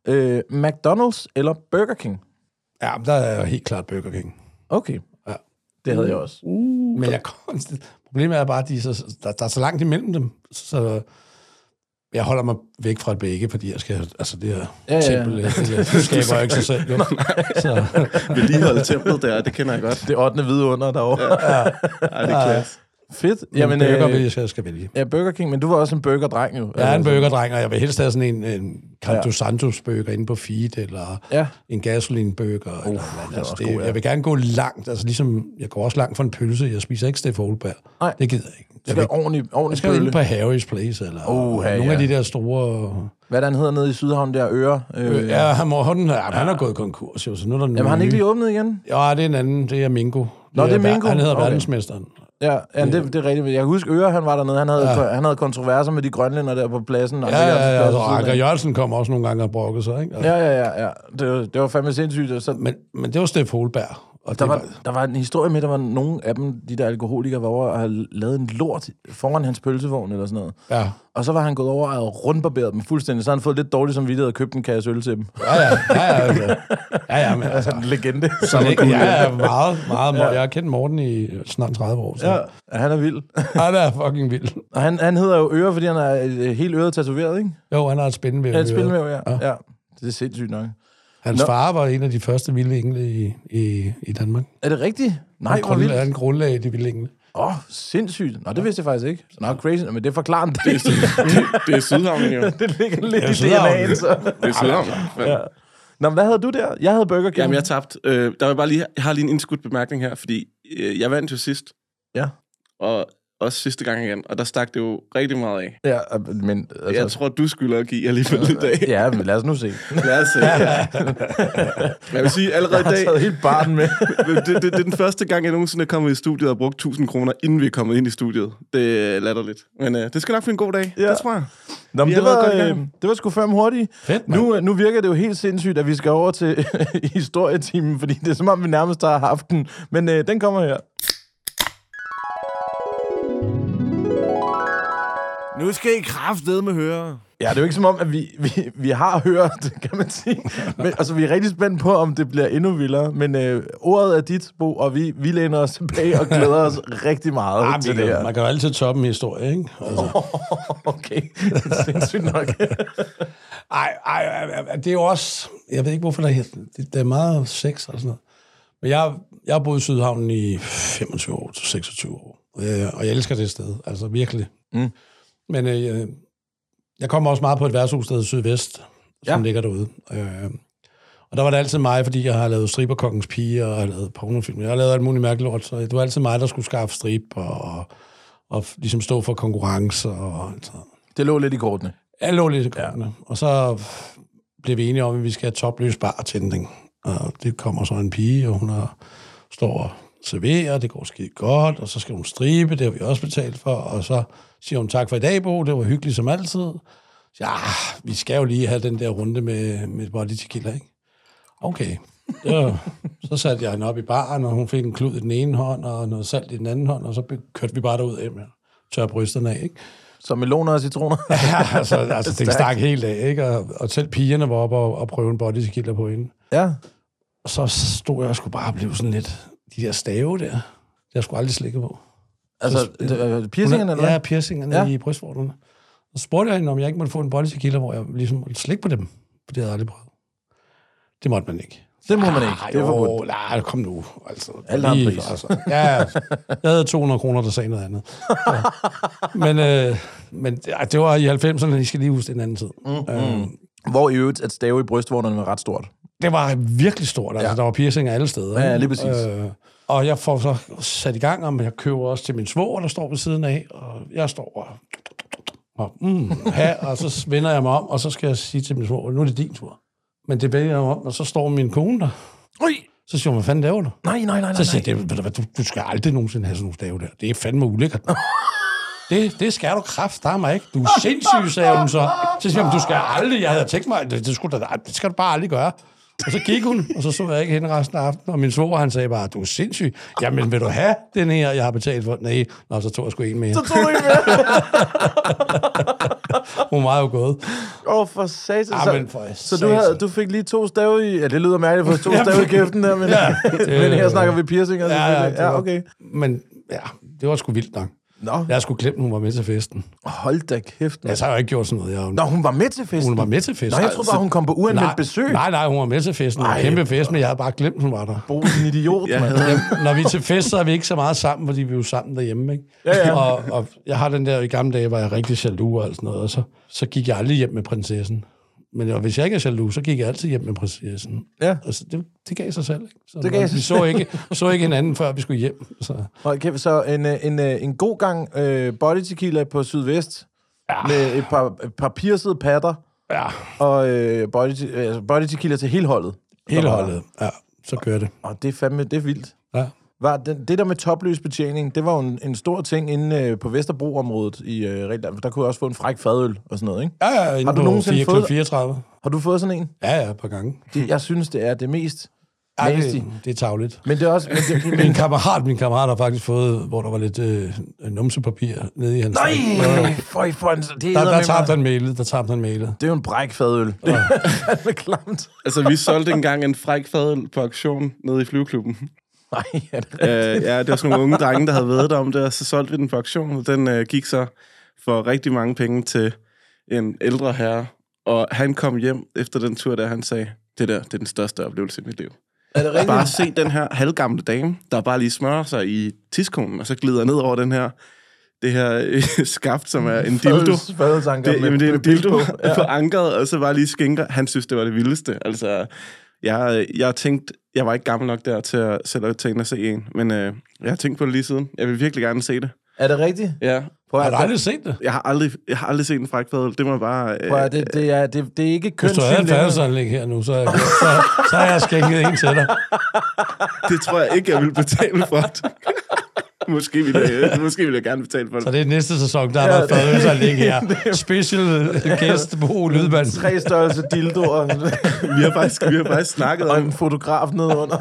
Speaker 4: Øh, McDonald's eller Burger King?
Speaker 6: Ja, men der er jeg helt klart Burger King.
Speaker 4: Okay.
Speaker 6: Ja. Uh.
Speaker 4: Det havde jeg også.
Speaker 6: Men jeg konstant, problemet er bare, at de er så, der, der er så langt imellem dem, så jeg holder mig væk fra begge, fordi jeg skal, altså det her ja,
Speaker 4: ja.
Speaker 6: ja. tempel, det her skaber jeg ikke sig selv. Jo. Så,
Speaker 5: Vedligeholdet templet der, det kender jeg godt.
Speaker 4: Det 8. vidunder derovre.
Speaker 5: Ja, det er klasse.
Speaker 4: Fedt.
Speaker 6: Jamen,
Speaker 4: Jamen,
Speaker 6: burger, øh,
Speaker 4: øh,
Speaker 6: hvis jeg skal vælge.
Speaker 4: ja, Burger King, men du var også en burgerdreng jo.
Speaker 6: Jeg er en
Speaker 4: Altså,
Speaker 6: burgerdreng, og jeg vil helst have sådan en, en Carlos
Speaker 4: Ja.
Speaker 6: Santos burger inde på feed, eller
Speaker 4: Ja.
Speaker 6: en gasolinburger. Uh, eller,
Speaker 4: den
Speaker 6: eller,
Speaker 4: er
Speaker 6: altså,
Speaker 4: også
Speaker 6: det,
Speaker 4: god, ja.
Speaker 6: Jeg vil gerne gå langt, altså ligesom, jeg går også langt for en pølse, jeg spiser ikke Steff Holberg.
Speaker 4: Nej.
Speaker 6: Det gider jeg ikke.
Speaker 4: altså, Det
Speaker 6: Jeg,
Speaker 4: skal
Speaker 6: vil,
Speaker 4: være ordentligt,
Speaker 6: jeg
Speaker 4: ordentligt
Speaker 6: skal jo ind
Speaker 4: bølle.
Speaker 6: på Harry's Place, eller
Speaker 4: Uh, ja,
Speaker 6: nogle af
Speaker 4: ja.
Speaker 6: de der store...
Speaker 4: Hvad er det, han hedder nede i Sydhavn der? Øre? Øh,
Speaker 6: Øh, ja, han, må, han, ja, han har gået konkurs, jo, så nu er der
Speaker 4: Jamen, har han ikke lige åbnet igen?
Speaker 6: Ja, det er en anden, det er Mingo.
Speaker 4: Nå, det er Mingo?
Speaker 6: Han hedder
Speaker 4: Okay.
Speaker 6: okay. verdensmesteren.
Speaker 4: Ja, ja det, det er rigtigt. Jeg kan huske, Øre, han var dernede. Han havde, ja. han havde kontroverser med de grønlænder der på pladsen. Og
Speaker 6: Ja,
Speaker 4: Anker
Speaker 6: ja,
Speaker 4: Jørgensens
Speaker 6: ja,
Speaker 4: plads
Speaker 6: altså,
Speaker 4: ved siden af.
Speaker 6: Anker Jørgensen kom også nogle gange og brokkede sig, ikke?
Speaker 4: Ja, ja, ja. ja. Det, var- det var fandme sindssygt. og Så,
Speaker 6: Men, men det var Steff Holberg. Og
Speaker 4: der,
Speaker 6: det
Speaker 4: var, der var en historie med, at der var nogle af dem, de der alkoholikere, var over og havde lavet en lort foran hans pølsevogn eller sådan noget.
Speaker 6: Ja.
Speaker 4: Og så var han gået over og havde rundbarberet dem fuldstændig. Så havde han fået lidt dårligt som vidtighed og købt en kasse øl til dem.
Speaker 6: Ja, ja, ja, ja, altså. ja, ja, men altså,
Speaker 4: Altså, en legende.
Speaker 6: så det, ja, ja, meget, meget, meget. Jeg har kendt Morten i snart 30 år, så ja.
Speaker 4: Ja, han er vild.
Speaker 6: han er fucking vild.
Speaker 4: Og han, han hedder jo Øre, fordi han er øh, helt øret tatoveret, ikke?
Speaker 6: Jo, han har et spændende
Speaker 4: Ja, et spil med, ja. ja. Det er sindssygt nok.
Speaker 6: Hans
Speaker 4: Nå.
Speaker 6: far var en af de første vilde engle i, i, i Danmark.
Speaker 4: Er det rigtigt? Nej,
Speaker 6: Han
Speaker 4: hvor vildt.
Speaker 6: grundlagde, han grundlagde de vilde engle.
Speaker 4: Åh, oh, sindssygt. Nå, det vidste jeg faktisk ikke. Så nå, crazy. Nå, Men det forklarer en del.
Speaker 5: Det er Sydhavn, jo.
Speaker 4: det ligger lidt i
Speaker 6: Sydhavn.
Speaker 4: DNA'en, så.
Speaker 5: Det er Sydhavn.
Speaker 4: altså,
Speaker 5: Ja.
Speaker 4: Nå, hvad havde du der? Jeg havde Burger King.
Speaker 5: Jamen, jeg tabte. Øh, der var bare lige, jeg har lige en indskudt bemærkning her, fordi øh, jeg vandt jo sidst,
Speaker 4: Ja.
Speaker 5: og også sidste gang igen, og der stak det jo rigtig meget af.
Speaker 4: Ja, øh, men... Altså,
Speaker 5: Jeg tror, du skylder at give alligevel lidt af.
Speaker 4: Ja, men lad os nu se.
Speaker 5: Lad os se. Jeg vil sige, allerede i
Speaker 4: Jeg har
Speaker 5: dag,
Speaker 4: taget helt barten med.
Speaker 5: det, det, det er den første gang, jeg nogensinde er kommet i studiet og brugt 1000 kroner, inden vi er kommet ind i studiet. Det øh, lader lidt. Men øh, det skal nok blive en god dag,
Speaker 4: Ja.
Speaker 5: ja. det tror jeg.
Speaker 4: Nå, men
Speaker 5: Vi
Speaker 4: det
Speaker 5: har været
Speaker 4: var,
Speaker 5: godt i
Speaker 4: øh,
Speaker 5: gang.
Speaker 4: det var sgu fem hurtigt.
Speaker 6: Fedt, mand.
Speaker 4: nu, øh, nu virker det jo helt sindssygt, at vi skal over til historietimen, fordi det er som om, vi nærmest har haft den. Men øh, den kommer her.
Speaker 7: Nu skal I kraftedeme høre.
Speaker 4: Ja, det er jo ikke som om, at vi, vi, vi har hørt, kan man sige. Men, altså, vi er rigtig spændt på, om det bliver endnu vildere. Men øh, ordet er dit, Bo, og vi, vi læner os tilbage og glæder os rigtig meget
Speaker 6: Ah,
Speaker 4: til det her.
Speaker 6: man kan jo altid toppe en historie, ikke? Altså.
Speaker 4: Okay, det er sindssygt nok.
Speaker 6: Ej, ej, ej, ej, det er jo også... Jeg ved ikke, hvorfor der er, det, der er meget sex og sådan noget. Men jeg, jeg har boet i Sydhavnen i 25 år til 26 år. Øh, og jeg elsker det sted, altså virkelig. Mm. Men øh, jeg kommer også meget på et værtshussted i Sydvest, som
Speaker 4: Ja.
Speaker 6: ligger derude. Øh, og der var det altid mig, fordi jeg har lavet striberkongens pige, og jeg har lavet pornofilm. Jeg har lavet alt muligt mærkeligt lort, så det var altid mig, der skulle skaffe strip, og, og, og ligesom stå for konkurrencer og alt sådan noget.
Speaker 4: Det lå lidt i kortene.
Speaker 6: Jeg lå lidt i kortene. Ja. Og så blev vi enige om, at vi skal have topløs bartending. Og det kommer så en pige, og hun har, står og serverer, det går skide godt, og så skal hun stribe, det har vi også betalt for, og så siger hun tak for i dag, Bo, det var hyggeligt som altid. Så ja, vi skal jo lige have den der runde med, med body tequila, ikke? Okay. Det var, så satte jeg hende op i baren, og hun fik en klud i den ene hånd, og noget salt i den anden hånd, og så be- kørte vi bare derud af med tør brysterne af, ikke?
Speaker 4: Så meloner og citroner.
Speaker 6: Ja, altså, altså det stak helt af, ikke? Og, og selv pigerne var oppe og, og prøve en body tequila på hende.
Speaker 4: ja.
Speaker 6: Og så stod jeg og skulle bare blive sådan lidt... De der stave der, det har jeg sgu aldrig slikket på.
Speaker 4: Altså, øh, piercingerne, eller
Speaker 6: Ja,
Speaker 4: hvad?
Speaker 6: piercingerne
Speaker 4: Ja.
Speaker 6: ja. i brystvorterne. Så spurgte jeg hende, om jeg ikke måtte få en body tequila, hvor jeg ligesom måtte slikke på dem. For det havde jeg aldrig prøvet. Det måtte man ikke. Ah,
Speaker 4: Det må man ikke. Det er forbudt.
Speaker 6: jo, nej, kom nu. Altså,
Speaker 4: Alt har en
Speaker 6: lige-
Speaker 4: pris.
Speaker 6: Altså, ja, jeg havde 200 kroner, der sagde noget andet. Så. Men, øh, men ej, det var i 90'erne, I skal lige huske den anden tid. Mm, øh,
Speaker 4: Hvor i øvrigt, at stave i brystvorterne var ret stort.
Speaker 6: det var virkelig stort. Altså,
Speaker 4: Ja.
Speaker 6: ja. der var piercinger alle steder.
Speaker 4: Ja,
Speaker 6: ikke?
Speaker 4: lige præcis.
Speaker 6: Øh, og jeg får så sat i gang, om jeg køber også til min svoger, der står ved siden af, og jeg står og... Og, mm, ha, og så vender jeg mig om, og så skal jeg sige til min svoger, nu er det din tur. Men det vender jeg mig om, og så står min kone der.
Speaker 4: Ui!
Speaker 6: Så siger hun, hvad fanden laver du?
Speaker 4: Nej, nej, nej, nej.
Speaker 6: Så siger jeg, "Det- ved du, hvad, du, du skal aldrig nogensinde have sådan nogle stave der. Det er fandme ulækkert. Det, det skal du kraft, der mig ikke. Du er sindssyg, sagde hun så. Så siger hun, du skal aldrig, jeg havde tænkt mig, det, det, skulle, da- det skal du bare aldrig gøre. Og så gik hun, og så så jeg ikke hende resten af aftenen, og min svoger, han sagde bare, du er sindssyg. Jamen, vil du have den her, jeg har betalt for? Nej, Nå, så tog jeg sgu en mere.
Speaker 4: Så tog du ikke med.
Speaker 6: Hun var jo gået.
Speaker 4: Åh, oh, for satan.
Speaker 6: Ah,
Speaker 4: Så,
Speaker 6: men for
Speaker 4: så du,
Speaker 6: satan.
Speaker 4: havde, du fik lige to stave i... Ja, det lyder mærkeligt at få to
Speaker 6: Ja,
Speaker 4: stave i
Speaker 6: men-
Speaker 4: kæften der, men, ja,
Speaker 6: Ja,
Speaker 4: det,
Speaker 6: det-
Speaker 4: men her snakker vi altså. piercinger.
Speaker 6: Ja, ja,
Speaker 4: selvfølgelig.
Speaker 6: det var-
Speaker 4: ja okay.
Speaker 6: Men ja, det var sgu vildt nok.
Speaker 4: Nå.
Speaker 6: Jeg skulle glemt, hun var med til festen.
Speaker 4: Hold da kæft.
Speaker 6: Altså, jeg har jo ikke gjort sådan noget. Jeg,
Speaker 4: Nå, hun var med til festen.
Speaker 6: Hun var med til festen.
Speaker 4: Nå, jeg troede bare, hun kom på uanmeldt besøg.
Speaker 6: Nej, nej, hun var med til festen. Ej,
Speaker 4: Ej,
Speaker 6: kæmpe fest, men jeg havde bare glemt, hun var der.
Speaker 4: Bo, en idiot, ja. mand.
Speaker 6: Jamen, når vi er til fest, så er vi ikke så meget sammen, fordi vi er jo sammen derhjemme, ikke? Ja, ja. Og, og jeg har den der, i gamle dage var jeg rigtig jaloux og alt sådan noget, og så, så gik jeg aldrig hjem med prinsessen. Men og hvis jeg ikke er jaloux, så gik jeg altid hjem med prinsessen.
Speaker 4: Ja.
Speaker 6: Altså, det, det gav sig selv, ikke? Så
Speaker 4: Det gav
Speaker 6: vi
Speaker 4: sig
Speaker 6: så ikke, så ikke hinanden, før vi skulle hjem. Så.
Speaker 4: Hold kæft, så en, øh, en, øh, en god gang øh, body tequila på sydvest. Ja. Med et par, et par piercede patter.
Speaker 6: Ja,
Speaker 4: Og øh, body, te- øh, altså body tequila til hele holdet.
Speaker 6: hele holdet. Ja, så kører det.
Speaker 4: Og det er fandme, det er vildt.
Speaker 6: Ja.
Speaker 4: Var den, det der med topløs betjening, det var jo en, en stor ting inde øh, på Vesterbro-området i øh, Rigland, for der kunne jeg også få en fræk fadøl og sådan noget, ikke?
Speaker 6: Ja, ja,
Speaker 4: Har
Speaker 6: inden
Speaker 4: du
Speaker 6: på
Speaker 4: nogensinde
Speaker 6: 4,
Speaker 4: fået-
Speaker 6: fået... 34.
Speaker 4: Har du fået sådan en?
Speaker 6: Ja, ja, et par gange.
Speaker 4: Det, jeg synes, det er det mest
Speaker 6: Ej,
Speaker 4: nasty.
Speaker 6: det, det er tavligt.
Speaker 4: Men det er også... Men det, men,
Speaker 6: Min kammerat, min kammerat har faktisk fået, hvor der var lidt øh, numsepapir nede i hans drink. Jo, jo.
Speaker 4: nej, for, for en, det,
Speaker 6: Der, der
Speaker 4: er
Speaker 6: tabte han mailet, der tabte han mailet.
Speaker 4: det er jo en bræk fadøl. Det er fandme klamt.
Speaker 5: Altså, vi solgte engang en fræk fadøl på auktion nede i flyveklubben.
Speaker 4: Nej, er det
Speaker 5: Øh, ja, det var sådan nogle unge drenge, der havde været der om det, og så solgte vi den på auktion, og den øh, gik så for rigtig mange penge til en ældre herre, og han kom hjem efter den tur, der han sagde, det der, det er den største oplevelse i mit liv.
Speaker 4: Er det rigtigt?
Speaker 5: Bare se den her halvgamle dame, der bare lige smører sig i tidskonen, og så glider ned over den her, det her øh, skaft, som er en dildo.
Speaker 4: Fadøls- Fadølsanker
Speaker 5: Det,
Speaker 4: med-
Speaker 5: jamen, det er en
Speaker 4: med pis
Speaker 5: dildo
Speaker 4: på.
Speaker 5: ja. på ankeret, og så bare lige skænker. Han synes, det var det vildeste. Altså, jeg, jeg tænkte, jeg var ikke gammel nok der til at selv at tage ind og se en, men øh, jeg har tænkt på det lige siden. Jeg vil virkelig gerne se det.
Speaker 4: Er det rigtigt?
Speaker 5: Ja.
Speaker 4: Prøv
Speaker 6: Har
Speaker 4: at,
Speaker 6: du aldrig set det?
Speaker 5: Jeg har aldrig, jeg har aldrig set en frækfadel. Det må jeg bare... Øh,
Speaker 4: prøv at, det, det, er, det, det er ikke
Speaker 6: Hvis du havde et
Speaker 4: kønsyn længere.
Speaker 6: færdelsanlæg her nu, så, så, så har jeg skænket en til dig.
Speaker 5: det tror jeg ikke, jeg vil betale for det. måske, vil jeg, øh, måske vil jeg gerne betale for
Speaker 6: Så
Speaker 5: det.
Speaker 6: det er næste sæson, der er der et færdelsanlæg her. Special gæst Bo Lydmand.
Speaker 4: Tre størrelse dildoer
Speaker 5: Vi har faktisk, vi har faktisk snakket
Speaker 4: og
Speaker 5: om,
Speaker 4: en fotograf nedenunder.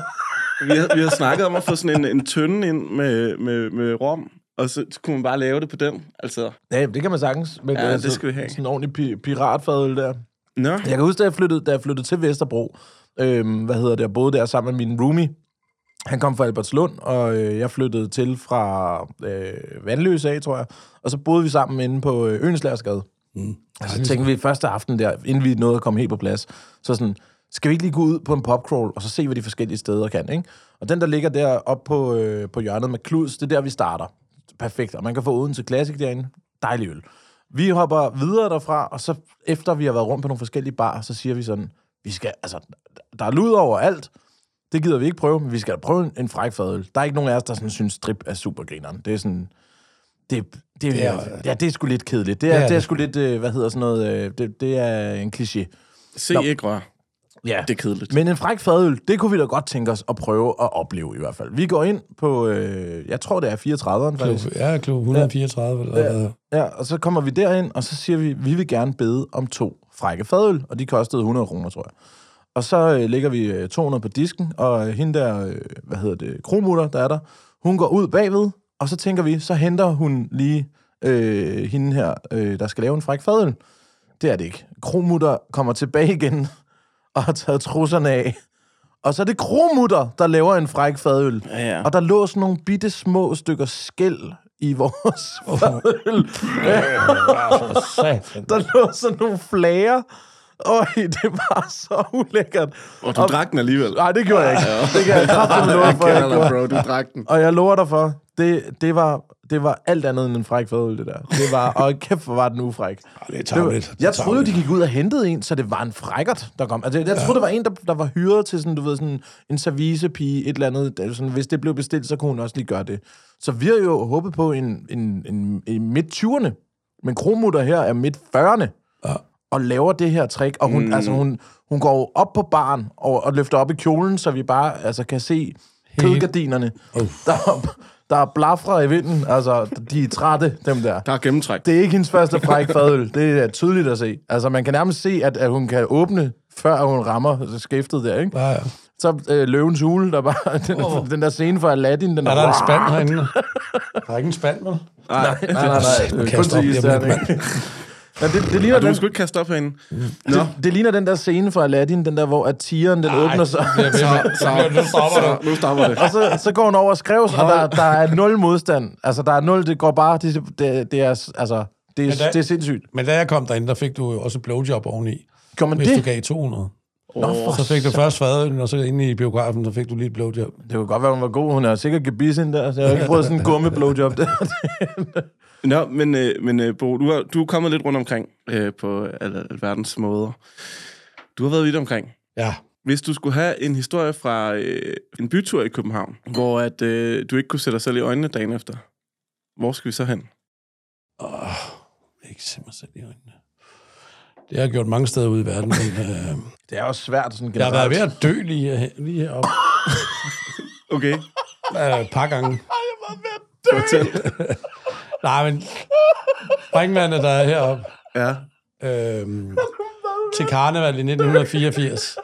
Speaker 5: vi har, vi har snakket om at få sådan en, en tønde ind med, med, med rom, og så kunne man bare lave det på den. Altså,
Speaker 4: Ja, det kan man sagens. Men altså,
Speaker 5: Ja, det skal vi have.
Speaker 4: Sådan en ordentlig pi- piratfadøl der.
Speaker 5: nå.
Speaker 4: Jeg kan huske, da jeg flyttede, da jeg flyttede til Vesterbro, øhm, hvad hedder det, jeg boede der sammen med min roomie. Han kom fra Albertslund, og øh, jeg flyttede til fra øh, Vandløse af, tror jeg. Og så boede vi sammen inde på øh, Øenslagersgade. Mm. Og så tænkte vi første aften der, inden vi nåede at komme helt på plads, så sådan, skal vi ikke lige gå ud på en popcrawl, og så se, hvad de forskellige steder kan, ikke? Og den, der ligger der oppe på, øh, på hjørnet med Kluds, det er der, vi starter. Perfekt, og man kan få Odense Classic derinde. Dejlig øl. Vi hopper videre derfra, og så efter vi har været rundt på nogle forskellige barer, så siger vi sådan, vi skal, altså, der er lud over alt, det gider vi ikke prøve, men vi skal da prøve en, en fræk fadøl. Der er ikke nogen af os, der sådan, synes, strip er supergrineren. Det er sådan... Det, det, det er, ja, det er sgu lidt kedeligt. Det er, det
Speaker 6: er
Speaker 4: er, det er
Speaker 6: det.
Speaker 4: sgu lidt, øh, hvad hedder sådan noget, øh, det, det er en kliché.
Speaker 5: Se
Speaker 4: Nå.
Speaker 5: ikke rør.
Speaker 4: Ja.
Speaker 5: Det er kedeligt.
Speaker 4: Men en fræk fadøl, det kunne vi da godt tænke os at prøve at opleve i hvert fald. Vi går ind på, øh, jeg tror det er 34'eren faktisk.
Speaker 6: Ja, klub 134. Eller, ja.
Speaker 4: Ja, og så kommer vi derind, og så siger vi, vi vil gerne bede om to frække fadøl, og de kostede 100 kroner, tror jeg. Og så øh, lægger vi øh, 200 på disken, og øh, hende der, øh, hvad hedder det, kromutter, der er der, hun går ud bagved, og så tænker vi, så henter hun lige øh, hende her, øh, der skal lave en fræk fadøl. Det er det ikke. Kromutter kommer tilbage igen og har taget trusserne af. Og så er det kromutter, der laver en fræk fadøl.
Speaker 5: Ja, ja.
Speaker 4: Og der lå sådan nogle bitte små stykker skæld i vores fadøl. Der lå sådan nogle flager. Øj, det var så ulækkert.
Speaker 5: Og du drak den alligevel.
Speaker 4: Nej, det gjorde jeg ikke. Det kan jeg kraftedeme love for, jeg
Speaker 5: Kender dig,
Speaker 4: gjorde.
Speaker 5: bro. Du drak den.
Speaker 4: Og jeg lover dig for, det, det, var, det var alt andet end en fræk fadøl, det der. Det var, og kæft, hvor var den ufræk.
Speaker 6: Det er
Speaker 4: Det var,
Speaker 6: tavligt.
Speaker 4: jeg troede, jo, de gik ud og hentede en, så det var en frækkert, der kom. Altså, jeg troede, der var en, der, der var hyret til sådan, du ved, sådan en servicepige, et eller andet. Det er Sådan, hvis det blev bestilt, så kunne hun også lige gøre det. Så vi har jo håbet på en, en, en, en midt-20'erne, men Kromutter her er midt-40'erne, ja. og laver det her trick. Og hun, mm. altså, hun, hun går jo op på baren og, og løfter op i kjolen, så vi bare altså, kan se kødgardinerne, der, der blafrer i vinden. Altså, de er trætte, dem der.
Speaker 5: Der er gennemtræk.
Speaker 4: Det er ikke hendes første fræk fadøl. Det er tydeligt at se. Altså, man kan nærmest se, at, at hun kan åbne, før hun rammer skæftet der, ikke?
Speaker 6: Ja, ja.
Speaker 4: Så øh, løvens hule, der bare... Den, oh. den der scene fra Aladdin, den
Speaker 6: Er der en spand herinde? Der er ikke en spand, vel?
Speaker 4: Nej, nej, nej. nej.
Speaker 6: Satan,
Speaker 4: Øh,
Speaker 6: kast
Speaker 4: Kun
Speaker 6: op
Speaker 4: til
Speaker 6: lige om lidt,
Speaker 4: isderne, ikke? Ja, det, det, ligner
Speaker 5: Og du
Speaker 4: den,
Speaker 5: må sgu ikke kaste op herinde. Nå,
Speaker 4: det, det ligner den der scene fra Aladdin, den der, hvor at tigeren, den Ej, åbner sig.
Speaker 5: så nu stopper det.
Speaker 4: Og så, så går hun over og skrives, og der, der er nul modstand. Altså, der er nul, det går bare, det, det, det er, altså, det er,
Speaker 6: Men der-
Speaker 4: det er sindssygt.
Speaker 6: Men da jeg kom derinde, der fik du jo også et blowjob oveni.
Speaker 4: Gjorde man
Speaker 6: Hvis du
Speaker 4: det?
Speaker 6: gav 200.
Speaker 4: Nå, for
Speaker 6: Så fik du først fadøl, og så inde i biografen, så fik du lige et blowjob.
Speaker 4: Det kunne godt være, hun var god. Hun er sikkert gebis ind der, så jeg har ikke prøvet sådan en gumme blowjob der.
Speaker 5: Nå, men, øh, men øh, Bo, du, har, du er kommet lidt rundt omkring øh, på al, alverdens måder. Du har været vidt omkring.
Speaker 6: Ja.
Speaker 5: Hvis du skulle have en historie fra øh, en bytur i København, hvor at, øh, du ikke kunne sætte dig selv i øjnene dagen efter, hvor skal vi så hen?
Speaker 6: Åh, ikke se mig selv i øjnene. Det har jeg gjort mange steder ude i verden, men øh,
Speaker 4: Det er også svært sådan
Speaker 6: jeg har
Speaker 4: generelt.
Speaker 6: været ved at dø lige, her- lige heroppe
Speaker 5: Okay,
Speaker 6: øh, et par gange.
Speaker 5: fortæl.
Speaker 6: Nej, men springvandet, der er heroppe,
Speaker 5: Ja.
Speaker 6: øh, til karneval i 1984.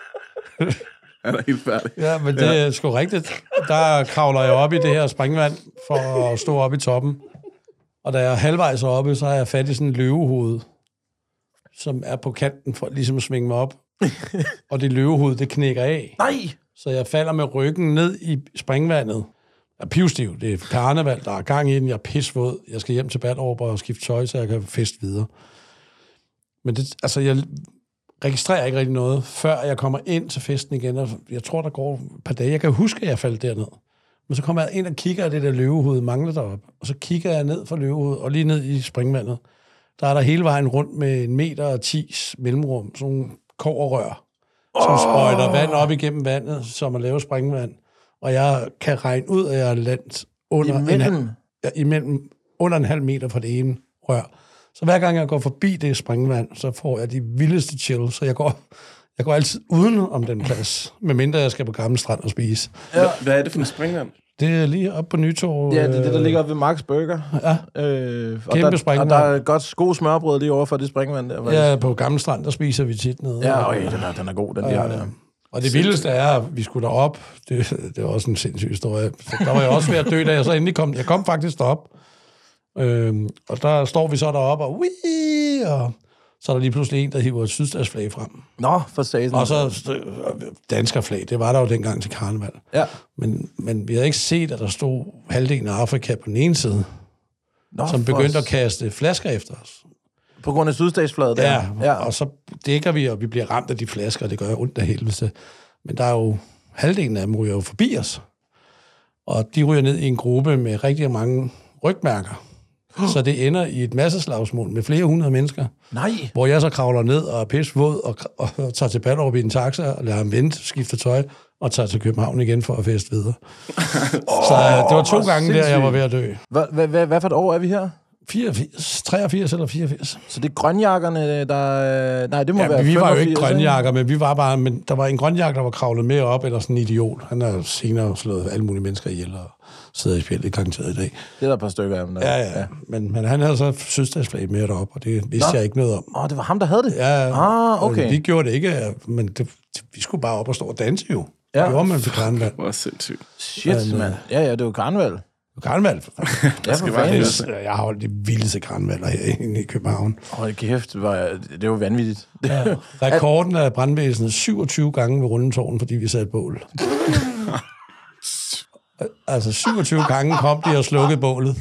Speaker 5: Han er helt færdig.
Speaker 6: Ja, men det er sgu rigtigt. Der kravler jeg op i det her springvand for at stå op i toppen. Og da jeg er halvvejs oppe, så har jeg fat i sådan en løvehoved, som er på kanten for ligesom at svinge mig op. Og det løvehoved, det knækker af.
Speaker 4: Nej!
Speaker 6: Så jeg falder med ryggen ned i springvandet. Jeg er pivstiv. Det er karneval, der er gang i den. Jeg er pisvåd. Jeg skal hjem til Ballerup og skifte tøj, så jeg kan feste videre. Men det, altså, jeg registrerer ikke rigtig noget, før jeg kommer ind til festen igen. Og jeg tror, der går et par dage. Jeg kan huske, at jeg faldt derned. Men så kommer jeg ind og kigger, og det der løvehoved mangler deroppe. Og så kigger jeg ned fra løvehovedet og lige ned i springvandet. Der er der hele vejen rundt med en meter og tis mellemrum, sådan nogle koverrør som sprøjter vand op igennem vandet, som at lave springvand. Og jeg kan regne ud, at jeg er landet under, en,
Speaker 4: Imellem?
Speaker 6: halv- ja, imellem, under en halv meter fra det ene rør. Så hver gang jeg går forbi det springvand, så får jeg de vildeste chill, så jeg går, jeg går altid uden om den plads, medmindre jeg skal på Gamle Strand og spise.
Speaker 5: Hva, hvad er det for en springvand?
Speaker 6: Det er lige op på Nytorv.
Speaker 4: Ja, det er det, der
Speaker 6: øh,
Speaker 4: ligger oppe ved Max Burger. Ja. Øh, og,
Speaker 6: Kæmpe
Speaker 4: der, og
Speaker 6: springvand.
Speaker 4: der er et godt god smørbrød lige over for det springvand der. faktisk.
Speaker 6: Ja, på Gamle Strand, der spiser vi tit noget.
Speaker 4: Ja, øj, den er, den er god, den de har der.
Speaker 6: Og det vildeste er, at vi skulle derop. Det, det var også en sindssyg historie. Så Der var jeg også ved at dø, da jeg så endelig kom. Jeg kom faktisk derop. Øhm, og der står vi så derop og, Wii! og så er der lige pludselig en, der hiver et sydstatsflag frem.
Speaker 4: Nå, for satan.
Speaker 6: Og så stø- danskerflag, det var der jo dengang til karneval.
Speaker 4: Ja.
Speaker 6: Men, men vi havde ikke set, at der stod halvdelen af Afrika på den ene side,
Speaker 4: Nå,
Speaker 6: som
Speaker 4: for
Speaker 6: begyndte at
Speaker 4: s-
Speaker 6: kaste flasker efter os.
Speaker 4: På grund af sydstatsflaget der.
Speaker 6: Ja, ja,
Speaker 4: ja.
Speaker 6: og så dækker vi, og vi bliver ramt af de flasker, og det gør ondt af helvede. Men der er jo, halvdelen af dem ryger jo forbi os. Og de ryger ned i en gruppe med rigtig mange rygmærker. Så det ender i et masseslagsmål med flere hundrede mennesker,
Speaker 4: Nej.
Speaker 6: hvor jeg så kravler ned og er pissvåd og, og, og tager til Ballerup i en taxa og lader ham vente, skifter tøj og tager til København igen for at feste videre. så øh, det var to
Speaker 4: hvor
Speaker 6: gange der, jeg var
Speaker 4: sindssygt.
Speaker 6: ved at dø.
Speaker 4: Hvad, hvad, hvad, hvad for et år er vi her?
Speaker 6: 84, 83 eller 84.
Speaker 4: Så det er grønjakkerne, der... øh, Nej, det må
Speaker 6: Ja,
Speaker 4: være
Speaker 6: vi var jo
Speaker 4: 85,
Speaker 6: ikke grønjakker, men vi var bare, men der var en grønjakker, der var kravlet med op, eller sådan en idiot. Han har senere slået alle mulige mennesker ihjel og sidder i spjældet garanteret i dag.
Speaker 4: Det er der et par stykker af dem. Der.
Speaker 6: Ja, ja, ja. Men, men han havde så sydstatsflag med derop, og det vidste Nå. jeg ikke noget om.
Speaker 4: Åh, det var ham, der havde det?
Speaker 6: Ja,
Speaker 4: Ah,
Speaker 6: og
Speaker 4: okay.
Speaker 6: Vi gjorde det ikke, men det, det- vi skulle bare op og stå og danse jo.
Speaker 4: Ja.
Speaker 6: Ja. Det gjorde man på Karneval.
Speaker 5: Hvor sindssygt.
Speaker 4: Shit, mand. Ja, ja, det er jo karneval.
Speaker 6: På Karneval. for fanden.
Speaker 4: Ja, for
Speaker 5: bare
Speaker 4: fanden.
Speaker 5: hilse.
Speaker 6: Jeg har holdt de vildeste karnevaler herinde i København.
Speaker 4: Hold kæft, det var, det var vanvittigt.
Speaker 6: Ja. Rekorden af brandvæsenet 27 gange ved rundetårn, fordi vi satte bål. altså 27 gange kom de og slukkede bålet.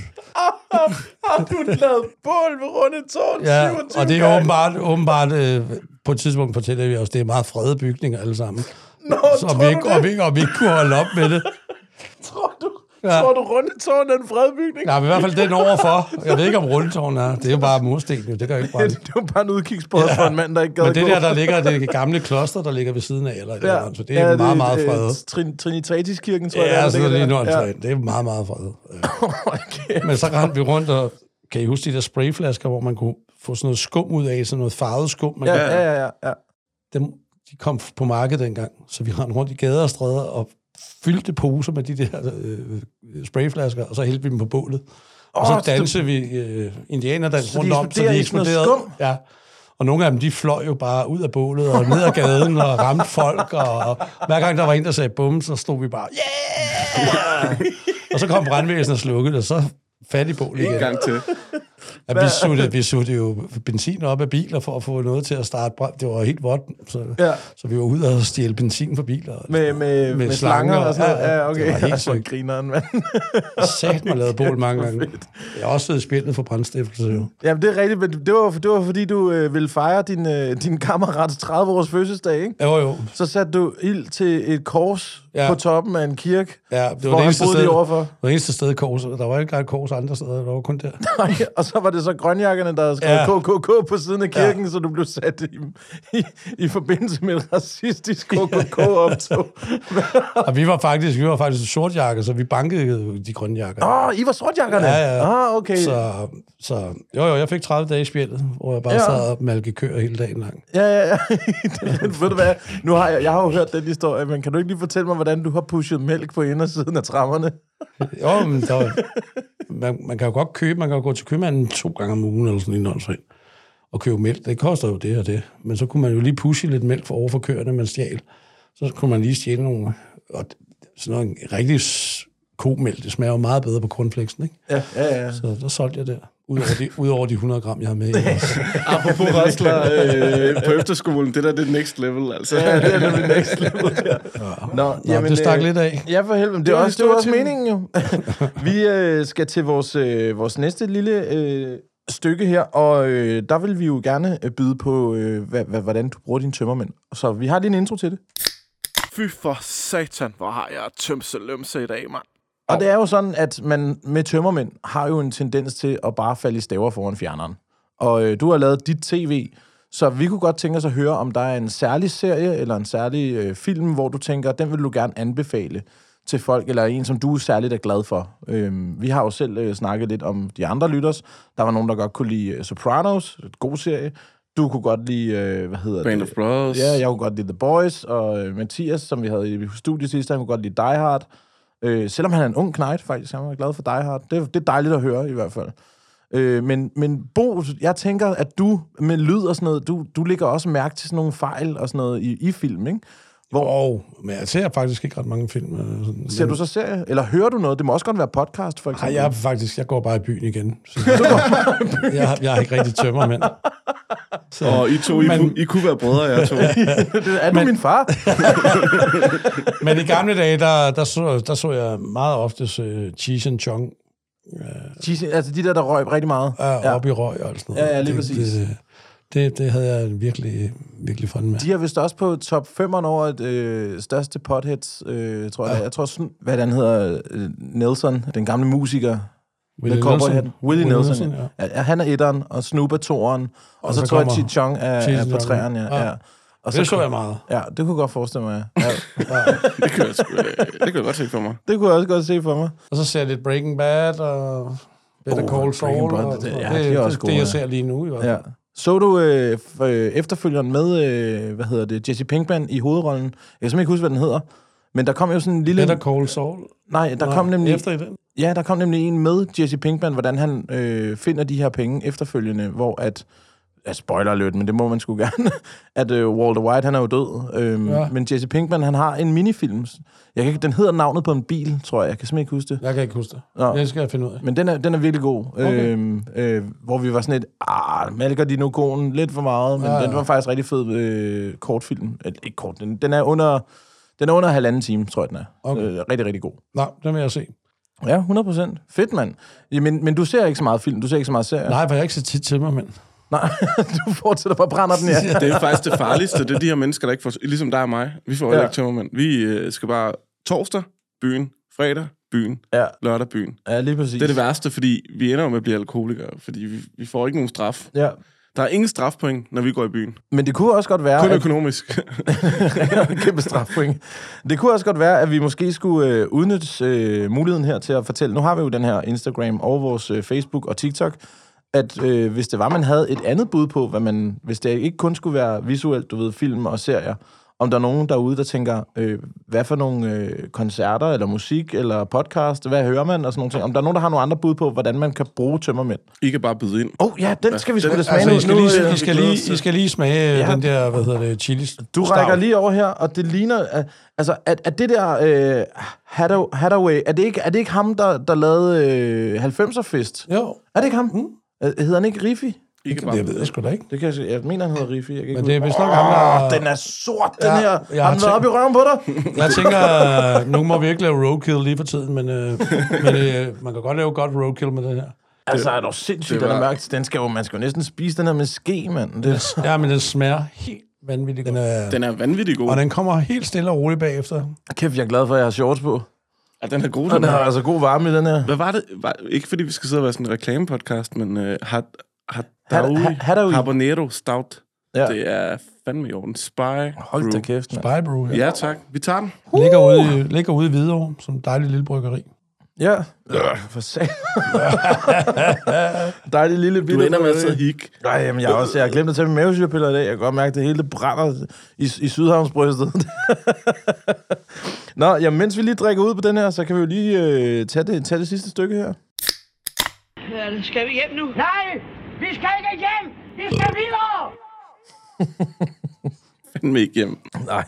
Speaker 4: du lavede bål ved runde tårn
Speaker 6: Ja, og det er åbenbart, åbenbart øh, på et tidspunkt fortæller vi os, det er meget fredede bygninger alle sammen. Nå, så vi ikke, og vi, ikke, og vi ikke kunne holde op med det.
Speaker 4: Tror du,
Speaker 6: Ja. tror
Speaker 4: du runde tårn er en fredbygning?
Speaker 6: Nej, men i hvert fald den overfor. Jeg ved ikke, om rundetårn er. Det er jo bare mursten, jo. det gør jo ikke brænde.
Speaker 4: det var bare en udkigsbrød ja. for en mand, der ikke gad
Speaker 6: Men det
Speaker 4: at
Speaker 6: der,
Speaker 4: gå.
Speaker 6: der ligger, det gamle kloster, der ligger ved siden af, eller, ja. eller så det er ja, meget, meget
Speaker 4: øh,
Speaker 6: fredet.
Speaker 4: Trin, Trinitatiskirken, tror jeg.
Speaker 6: Ja, sådan noget
Speaker 4: ligger
Speaker 6: lige
Speaker 4: der.
Speaker 6: ja. Det er meget, meget fredet. Øh,
Speaker 4: Okay.
Speaker 6: Men så rendte vi rundt og... Kan I huske de der sprayflasker, hvor man kunne få sådan noget skum ud af, sådan noget farvet skum? Man
Speaker 4: Ja,
Speaker 6: kunne-
Speaker 4: ja, ja, ja, ja.
Speaker 6: Dem, de kom på markedet dengang, så vi rendte rundt i gader og stræder og fyldte poser med de der øh, sprayflasker, og så hældte vi dem på bålet. Og
Speaker 4: Åh,
Speaker 6: så
Speaker 4: så
Speaker 6: dansede vi øh, indianerdans
Speaker 4: Så de
Speaker 6: rundt om, så
Speaker 4: eksploderede
Speaker 6: de
Speaker 4: i sådan noget
Speaker 6: eksploderede.
Speaker 4: skum?
Speaker 6: Ja. Og nogle af dem, de fløj jo bare ud af bålet og ned ad gaden og ramte folk. Og, og hver gang der var en, der sagde bum, så stod vi bare, yeah! og så kom brandvæsenet og slukkede, og så fat i bålet igen.
Speaker 5: En gang til.
Speaker 6: Ja, vi, suttede, vi suttede jo benzin op af biler for at få noget til at starte brand. Det var helt vådt, så,
Speaker 4: Ja.
Speaker 6: ja. så vi var ude og stjæle benzin fra biler.
Speaker 4: Med, med, med, med slanger og sådan noget. Ja, okay.
Speaker 6: Det var helt
Speaker 4: Ej, hvor
Speaker 6: sygt.
Speaker 4: grineren, mand.
Speaker 6: Sat mig lavet bål mange gange. Jeg har også været spillet for brandstiftelse. Jo.
Speaker 4: Jamen, det er rigtigt, men det var, det var fordi, du øh, ville fejre din, øh, din kammerats 30-års fødselsdag, ikke?
Speaker 6: Jo, jo.
Speaker 4: Så satte du ild til et kors ja.
Speaker 6: Ja.
Speaker 4: på toppen af en kirke,
Speaker 6: Ja, det var
Speaker 4: hvor
Speaker 6: det
Speaker 4: han
Speaker 6: eneste
Speaker 4: boede
Speaker 6: sted.
Speaker 4: lige overfor.
Speaker 6: Det var det eneste sted i Kors. Der var ikke et Kors andre steder. Der var kun der.
Speaker 4: Nej, og så var det så grønjakkerne, der havde skrevet
Speaker 6: Ja.
Speaker 4: KKK på siden af kirken, ja. så du blev sat i, i, i forbindelse med et racistisk KKK-optog.
Speaker 6: Og vi var faktisk, vi var faktisk sortjakker, så vi bankede de grønne jakker.
Speaker 4: Åh, oh, I var sortjakkerne?
Speaker 6: Ja, ja.
Speaker 4: Ah, okay. Så.
Speaker 6: Så, så jo, jo, jeg fik 30 dage i spjældet, hvor jeg bare
Speaker 4: Ja.
Speaker 6: ja. sad og malke køer hele dagen lang.
Speaker 4: Ja, ja, ja. Det- Ved du hvad? Nu har jeg, jeg har jo hørt den historie, men kan du ikke lige fortælle mig, hvordan du har pushet mælk på indersiden af trammerne?
Speaker 6: Jo, men der var, man, man, kan jo godt købe, man kan jo gå til købmanden to gange om ugen eller sådan en åndssvagt og købe mælk. Det koster jo det og det. Men så kunne man jo lige pushe lidt mælk for over for køerne, man stjal. Så kunne man lige stjæle nogle. Og sådan noget, en rigtig s- komælk, det smager jo meget bedre på cornflakesen, ikke?
Speaker 4: Ja, ja, ja.
Speaker 6: Så der solgte jeg det. Udover de, udover de 100 gram, jeg har med. i også.
Speaker 5: Apropos wrestler øh, på efterskolen, det der det er next level, altså.
Speaker 4: Ja, det er nemlig next level, ja. Nå, øh,
Speaker 6: Nå, det stak lidt af.
Speaker 4: Ja, for helvede. men Det,
Speaker 5: Det
Speaker 4: det,
Speaker 5: var
Speaker 4: er
Speaker 5: det
Speaker 4: også, det var
Speaker 5: store
Speaker 4: også
Speaker 5: tema.
Speaker 4: meningen jo. vi øh, skal til vores, øh, vores næste lille øh, stykke her, og øh, der vil vi jo gerne øh, byde på, øh, hva, hva, hvordan du bruger dine tømmermænd. Så vi har lige en intro til det.
Speaker 5: Fy for satan, hvor har jeg tømse lømse i dag, mand.
Speaker 4: Og det er jo sådan, at man med tømmermænd har jo en tendens til at bare falde i staver foran fjerneren. Og øh, du har lavet dit tv, så vi kunne godt tænke os at høre, om der er en særlig serie eller en særlig øh, film, hvor du tænker, den vil du gerne anbefale til folk, eller en, som du særligt er glad for. Øhm, vi har jo selv øh, snakket lidt om de andre lytters. Der var nogen, der godt kunne lide øh, Sopranos, et god serie. Du kunne godt lide, øh, hvad hedder
Speaker 5: Band
Speaker 4: det?
Speaker 5: of Brothers.
Speaker 4: Ja, jeg kunne godt lide The Boys, og øh, Mathias, som vi havde i studiet sidst, han kunne godt lide Die Hard. Øh, selvom han er en ung knight, faktisk. Han var glad for Die Hard. Det, det er dejligt at høre, i hvert fald. Øh, men, men Bo, jeg tænker, at du med lyd og sådan noget, du, du lægger også mærke til sådan nogle fejl og sådan noget i, i film, ikke? Hvor
Speaker 6: Og, men jeg ser faktisk ikke ret mange film. øh, Sådan,
Speaker 4: ser du så serie? Eller hører du noget? Det må også godt være podcast, for eksempel.
Speaker 6: Nej, jeg er faktisk, jeg går bare i byen igen. Så, jeg, har- jeg har ikke rigtig tømmer, men... Så,
Speaker 5: Og I to, I,
Speaker 6: Men-
Speaker 5: men... I kunne være brødre, jeg to.
Speaker 4: det, er du men... min far?
Speaker 6: men i gamle dage, der, der, så, der så jeg meget ofte uh, Cheese and Chong
Speaker 4: Jeez, altså, de der, der røg rigtig meget.
Speaker 6: uh, ja. op i røg og sådan noget.
Speaker 4: Ja, ja, lige
Speaker 6: det,
Speaker 4: præcis.
Speaker 6: Det, det, det havde jeg virkelig, virkelig fun med.
Speaker 4: De er vist også på top 5'eren over et øh, største potheads, øh, tror jeg. Ja. Jeg tror, sådan, hvad den hedder, øh, Nelson, den gamle musiker.
Speaker 6: Willie
Speaker 4: med cowboyhatten.
Speaker 6: Nelson.
Speaker 4: Willie
Speaker 6: Willie
Speaker 4: Nelson,
Speaker 6: Nelson,
Speaker 4: ja. ja. Han er etteren, og Snoop er toeren, og, og så,
Speaker 6: så
Speaker 4: så tror jeg,
Speaker 6: kommer-
Speaker 4: Chichong er, er
Speaker 6: Cheech
Speaker 4: på
Speaker 6: Chong.
Speaker 4: træerne. Ja.
Speaker 6: Ja.
Speaker 4: Ja. Og
Speaker 6: Det så jeg meget.
Speaker 4: Ja, det kunne jeg godt forestille mig. Ja.
Speaker 5: Det kunne jeg, sgu, øh, det kunne jeg godt se for mig.
Speaker 4: Det kunne jeg også godt se for mig.
Speaker 6: Og så ser jeg lidt Breaking Bad og Better
Speaker 4: Oh,
Speaker 6: oh, Call Saul.
Speaker 4: Breaking Bad,
Speaker 6: og-
Speaker 4: det- ja,
Speaker 6: og
Speaker 4: de er også
Speaker 6: det,
Speaker 4: gode,
Speaker 6: det, jeg
Speaker 4: ja.
Speaker 6: ser lige nu i hvert fald.
Speaker 4: Ja. Så du øh, f- øh, efterfølgeren med, øh, hvad hedder det, Jesse Pinkman i hovedrollen? Jeg kan simpelthen ikke huske, hvad den hedder. Men der kom jo sådan en lille...
Speaker 6: Better Call Saul.
Speaker 4: Nej, der
Speaker 6: Nå,
Speaker 4: kom nemlig...
Speaker 6: Efter i den?
Speaker 4: Ja, der kom nemlig en med Jesse Pinkman, hvordan han øh, finder de her penge efterfølgende, hvor at, ja, spoiler alert, men det må man sgu gerne, at øh, Walter White, han er jo død. Øhm, ja.
Speaker 6: Ja.
Speaker 4: Men Jesse Pinkman, han har en minifilm. Jeg kan, ikke- den hedder navnet på en bil, tror jeg. Jeg kan simpelthen ikke huske det.
Speaker 6: Jeg kan ikke huske det.
Speaker 4: Nå.
Speaker 6: Det skal jeg finde ud af.
Speaker 4: Men den er, den er virkelig god.
Speaker 6: Okay.
Speaker 4: Øhm, øh, hvor vi var sådan lidt, ah, malker de nu konen lidt for meget, men ja,
Speaker 6: Ja,
Speaker 4: ja.
Speaker 6: ja.
Speaker 4: den var faktisk rigtig fed øh, kortfilm. Eller, ikke kort, den, den er under... Den er under halvanden time, tror jeg, den er.
Speaker 6: Okay.
Speaker 4: Øh, rigtig, rigtig god.
Speaker 6: Nej, den vil jeg se.
Speaker 4: Ja, 100%. Fedt, mand. Jamen, men du ser ikke så meget film, du ser ikke så meget serier.
Speaker 6: Nej, for jeg er ikke så tit til mig, men...
Speaker 4: Nej, du fortsætter bare brænder den, ja.
Speaker 5: Det er faktisk det farligste, det er de her mennesker, der ikke får... Ligesom dig og mig. Vi får
Speaker 4: Ja.
Speaker 5: ja. ikke tømmermænd. Vi øh, skal bare torsdag, byen, fredag, byen,
Speaker 4: Ja.
Speaker 5: lørdag, byen.
Speaker 4: Ja, lige præcis.
Speaker 5: Det er det værste, fordi vi ender jo med at blive alkoholikere, fordi vi, vi får ikke nogen straf.
Speaker 4: Ja.
Speaker 5: Der er ingen strafpoint, når vi går i byen.
Speaker 4: Men det kunne også godt være...
Speaker 5: Kun
Speaker 4: at-
Speaker 5: økonomisk.
Speaker 4: Kæmpe strafpoint. Det kunne også godt være, at vi måske skulle øh, udnytte øh, muligheden her til at fortælle. Nu har vi jo den her Instagram og vores øh, Facebook og TikTok at øh, hvis det var, man havde et andet bud på, hvad man, hvis det ikke kun skulle være visuelt, du ved, film og serier, om der er nogen derude, der tænker, øh, hvad for nogle øh, koncerter, eller musik, eller podcast, hvad hører man, og sådan nogle ting. Om der er nogen, der har nogle andre bud på, hvordan man kan bruge tømmermænd.
Speaker 5: I kan bare byde ind.
Speaker 4: Åh, oh, ja, den skal vi sgu
Speaker 5: Den-
Speaker 4: da smage
Speaker 6: Altså,
Speaker 4: nu.
Speaker 6: I skal,
Speaker 4: Nu,
Speaker 6: lige,
Speaker 4: øh,
Speaker 6: I, skal lige, I skal lige smage
Speaker 4: Ja.
Speaker 6: ja. den der, hvad hedder det, chili
Speaker 4: Du rækker lige over her, og det ligner... At, altså, at, at det der øh, Hathaway... Er det, ikke, er det ikke ham, der, der lavede øh, 90'er-fest?
Speaker 6: Jo.
Speaker 4: Er det ikke ham? Mm. Øh, Hedder han ikke Riffi?
Speaker 5: Ikke
Speaker 6: Det ved jeg sgu da ikke.
Speaker 4: Det kan jeg, se. jeg mener, han hedder Riffi. Jeg kan ikke
Speaker 6: Men det er
Speaker 4: huske.
Speaker 6: vist nok ham, der-
Speaker 4: Åh, den er sort, den
Speaker 6: Ja,
Speaker 4: her.
Speaker 6: jeg har
Speaker 4: Har den været
Speaker 6: tænkt-
Speaker 4: oppe i røven på dig?
Speaker 6: Jeg tænker, nu må vi ikke lave roadkill lige for tiden, men, øh, men øh, man kan godt lave godt roadkill med den her.
Speaker 4: altså, er dog sindssygt,
Speaker 5: det
Speaker 4: den er
Speaker 5: var-
Speaker 4: mørk. Den skal jo, man skal jo næsten spise den her med ske, mand. Det,
Speaker 6: Ja, men den smager helt vanvittigt den er,
Speaker 5: Den er vanvittig god.
Speaker 6: Og
Speaker 5: Og den,
Speaker 6: den kommer helt stille og roligt bagefter.
Speaker 4: kæft, jeg er glad for, at jeg har shorts på.
Speaker 5: ja, den er god,
Speaker 4: Den
Speaker 5: den
Speaker 4: har
Speaker 5: her.
Speaker 4: altså god varme i den her.
Speaker 5: Hvad var det? Var, ikke fordi vi skal sidde og være sådan en reklamepodcast, men uh, har, har,
Speaker 4: ha- Hadaoui.
Speaker 5: Habanero Stout.
Speaker 4: Ja.
Speaker 5: Ja. Det er fandme i orden. Spy
Speaker 4: Hold da
Speaker 5: brew.
Speaker 4: kæft, mand.
Speaker 6: Bye, bro. Ja.
Speaker 5: Ja, tak. Vi tager den.
Speaker 6: Ligger, ude, i- ligger ude i Hvidovre, som et dejligt lille bryggeri.
Speaker 4: Ja. Øh, for sat. Dejlig lille bitte.
Speaker 5: Du ender med at sidde og hik.
Speaker 4: Nej, jamen, jeg, har også, jeg har glemt at tage min mavesyrepiller i dag. Jeg kan godt mærke, at det hele det brænder i, i Sydhavnsbrystet. Nå, jamen, mens vi lige drikker ud på den her, så kan vi jo lige øh, tage, det, tage det sidste stykke her.
Speaker 8: Ja, det skal vi hjem nu? Nej, vi skal ikke hjem! Vi skal videre!
Speaker 5: Fandme ikke hjem.
Speaker 4: Nej,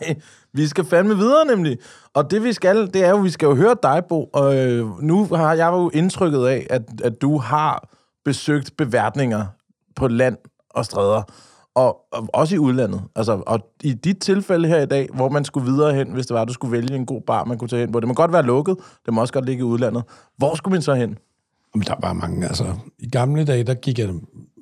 Speaker 4: vi skal fandme videre nemlig. Og det vi skal, det er jo, vi skal jo høre dig, Bo. Og øh, nu har jeg jo indtrykket af, at, at du har besøgt beværtninger på land og stræder. Og, og også i udlandet. Altså, og i dit tilfælde her i dag, hvor man skulle videre hen, hvis det var, at du skulle vælge en god bar, man kunne tage hen på. Det må godt være lukket, det må også godt ligge i udlandet. Hvor skulle man så hen?
Speaker 6: Men der var mange, altså... I gamle dage, der gik jeg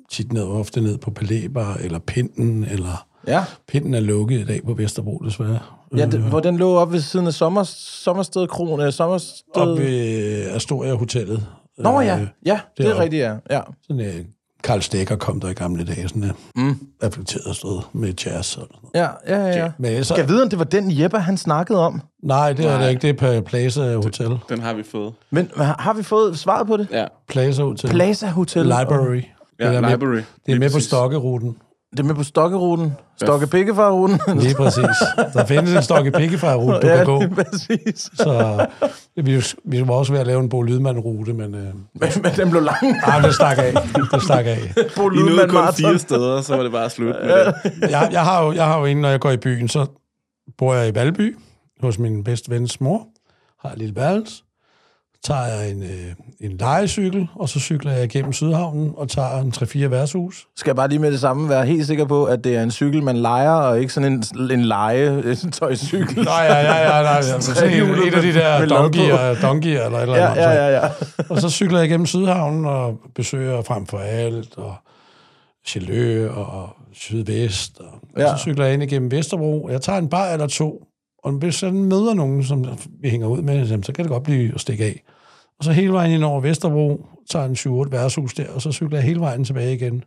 Speaker 6: tit ned, ofte ned på Palæbar, eller Pinden, eller...
Speaker 4: Ja.
Speaker 6: Pinden er lukket i dag på Vesterbro, desværre.
Speaker 4: Ja, det, hvor den lå op ved siden af sommer, sommersted, kron, øh, sommersted...
Speaker 6: Op ved Astoria-hotellet. Øh,
Speaker 4: Nå ja, ja, det er
Speaker 6: deroppe.
Speaker 4: rigtigt, ja. ja.
Speaker 6: Sådan, øh, Karl Stegger kom der i gamle dage, sådan et mm. reflekteret sted med jazz. Og sådan noget.
Speaker 4: Ja, ja, ja. ja.
Speaker 6: Men så,
Speaker 4: Skal jeg vide, om det var den Jeppe, han snakkede om?
Speaker 6: nej, det er det ikke. Det er på Plaza Hotel.
Speaker 5: Den har vi fået.
Speaker 4: Men h- har vi fået svaret på det?
Speaker 5: Ja.
Speaker 6: Plaza Hotel.
Speaker 4: Plaza Hotel.
Speaker 6: Library.
Speaker 5: Ja,
Speaker 6: der
Speaker 5: library.
Speaker 6: Med, det er
Speaker 5: Lige
Speaker 6: med på
Speaker 5: præcis.
Speaker 6: Stokkeruten.
Speaker 4: Det er med på Stokkeruten. Stokke ruten
Speaker 6: Lige præcis. Der findes en Stokke Pikkefar-rute, du
Speaker 4: ja,
Speaker 6: kan gå.
Speaker 4: lige præcis.
Speaker 6: Så vi, vi var også ved at lave en Bo Lydman-rute, men øh,
Speaker 4: Men, men den blev lang.
Speaker 6: ah, det stak af. Det stak af.
Speaker 4: Bo
Speaker 5: I nåede
Speaker 4: Lydman
Speaker 5: kun fire
Speaker 4: Marathon.
Speaker 5: steder, så var det bare slut med det.
Speaker 6: Jeg, jeg, har jo, jeg har jo en, når jeg går i byen, så bor jeg i Valby hos min bedste vens mor. Har et lille værelse. Tager jeg en, øh, en lejecykel, og så cykler jeg igennem Sydhavnen og tager en 3-4 værtshus.
Speaker 4: Skal jeg bare lige med det samme være helt sikker på, at det er en cykel, man leger, og ikke sådan en, en leje, en tøjcykel.
Speaker 6: Nej, ja, ja, ja, nej. Altså, sådan en,
Speaker 4: Trehjulet
Speaker 6: et af de
Speaker 4: med-
Speaker 6: der
Speaker 4: med lod på.
Speaker 6: donkier, donkier eller et eller
Speaker 4: Ja,
Speaker 6: andet.
Speaker 4: ja, ja, ja.
Speaker 6: Og så cykler jeg igennem Sydhavnen og besøger frem for alt, og Chalø og Sydvest. Og, ja.
Speaker 4: Ja.
Speaker 6: og så cykler jeg ind igennem Vesterbro. Jeg tager en bar eller to, og hvis jeg møder nogen, som vi hænger ud med, jamen, så kan det godt blive at stikke af. Og så hele vejen ind over Vesterbro, tager en 7-8 værtshus der, og så cykler jeg hele vejen tilbage igen.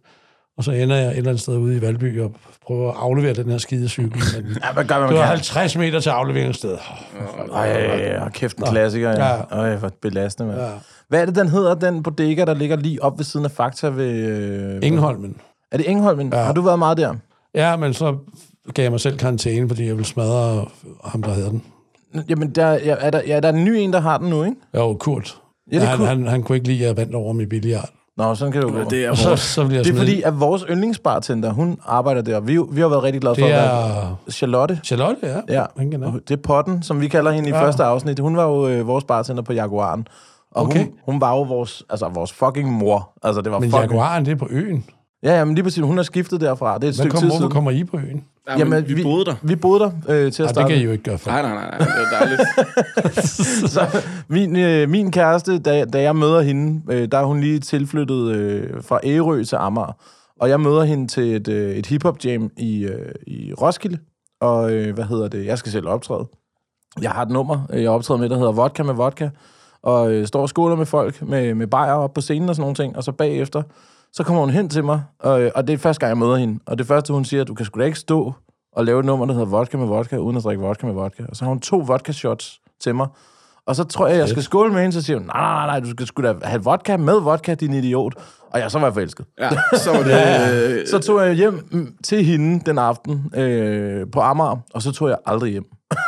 Speaker 6: Og så ender jeg et eller andet sted ude i Valby og prøver at aflevere den her skide cykel. Men
Speaker 4: ja hvad gør man,
Speaker 6: det var
Speaker 4: man
Speaker 6: 50 meter til afleveringsstedet.
Speaker 4: kan? Ej, ej, ej, kæft en klassiker. Ja.
Speaker 6: Ja.
Speaker 4: Ej, hvor belastende, mand.
Speaker 6: Ja.
Speaker 4: Hvad er det, den hedder, den bodega, der ligger lige op ved siden af Fakta ved... Øh...
Speaker 6: Ingenholmen.
Speaker 4: Er det Engholmen? Ja. Har du været meget der?
Speaker 6: Ja, men så gav jeg mig selv karantæne, fordi jeg ville smadre ham, der havde den.
Speaker 4: Jamen, der, ja, er der, ja, der er en ny en, der har den nu, ikke?
Speaker 6: Jo, Kurt. Ja,
Speaker 4: det er
Speaker 6: han,
Speaker 4: Kurt.
Speaker 6: Han, han kunne ikke lide, at jeg vandt over med billiard.
Speaker 4: Nå, sådan kan det jo gå.
Speaker 5: Det er
Speaker 6: Og så,
Speaker 5: vores.
Speaker 6: så ville jeg
Speaker 4: Det er
Speaker 6: smide-
Speaker 4: fordi, at vores yndlingsbartender, hun arbejder der. Vi, vi har været rigtig glade for
Speaker 6: Det
Speaker 4: at være
Speaker 6: er
Speaker 4: Charlotte.
Speaker 6: Charlotte, ja.
Speaker 4: Ja,
Speaker 6: Hende kender jeg.
Speaker 4: det er potten, som vi kalder hende i ja. første afsnit. Hun var jo øh, vores bartender på Jaguaren. Og okay.
Speaker 6: Okay.
Speaker 4: hun, hun var jo vores, altså, vores fucking mor. Altså, det var
Speaker 6: Men
Speaker 4: fucking...
Speaker 6: Jaguaren, det er på øen.
Speaker 4: Ja, jamen lige præcis. Hun har skiftet derfra. Det er et
Speaker 6: Hvad
Speaker 4: stykke
Speaker 6: kom,
Speaker 4: tid
Speaker 6: hvorfor
Speaker 4: siden.
Speaker 6: kommer I på øen?
Speaker 5: Ja, men vi, vi boede der.
Speaker 4: Vi boede der øh, til at
Speaker 6: Ej, det
Speaker 4: starte.
Speaker 6: kan I jo ikke gøre for.
Speaker 5: Nej, nej, nej, nej. Det var dejligt.
Speaker 4: Så min, øh, min kæreste, da, da jeg møder hende, øh, der er hun lige tilflyttet øh, fra Ærø til Amager. Og jeg møder hende til et, øh, et hip-hop jam i, øh, i Roskilde. Og øh, hvad hedder det? Jeg skal selv optræde. Jeg har et nummer, øh, jeg optræder med, der hedder Vodka med Vodka. Og øh, står og skåler med folk, med, med bajer op på scenen og sådan nogle ting. Og så bagefter, så kommer hun hen til mig, og, øh, og det er første gang, jeg møder hende. Og det første, hun siger, du kan sgu da ikke stå og lave et nummer, der hedder Vodka med Vodka, uden at drikke vodka med vodka. Og så har hun to vodka-shots til mig. Og så tror jeg, jeg skal skåle med hende, så siger hun, nej, nej, nej, du skal sgu da have vodka med vodka, din idiot. Og jeg, så var jeg forelsket.
Speaker 5: Ja, så var det... Øh,
Speaker 4: Så tog jeg hjem mm, til hende den aften øh, på Amager, og så tog jeg aldrig hjem.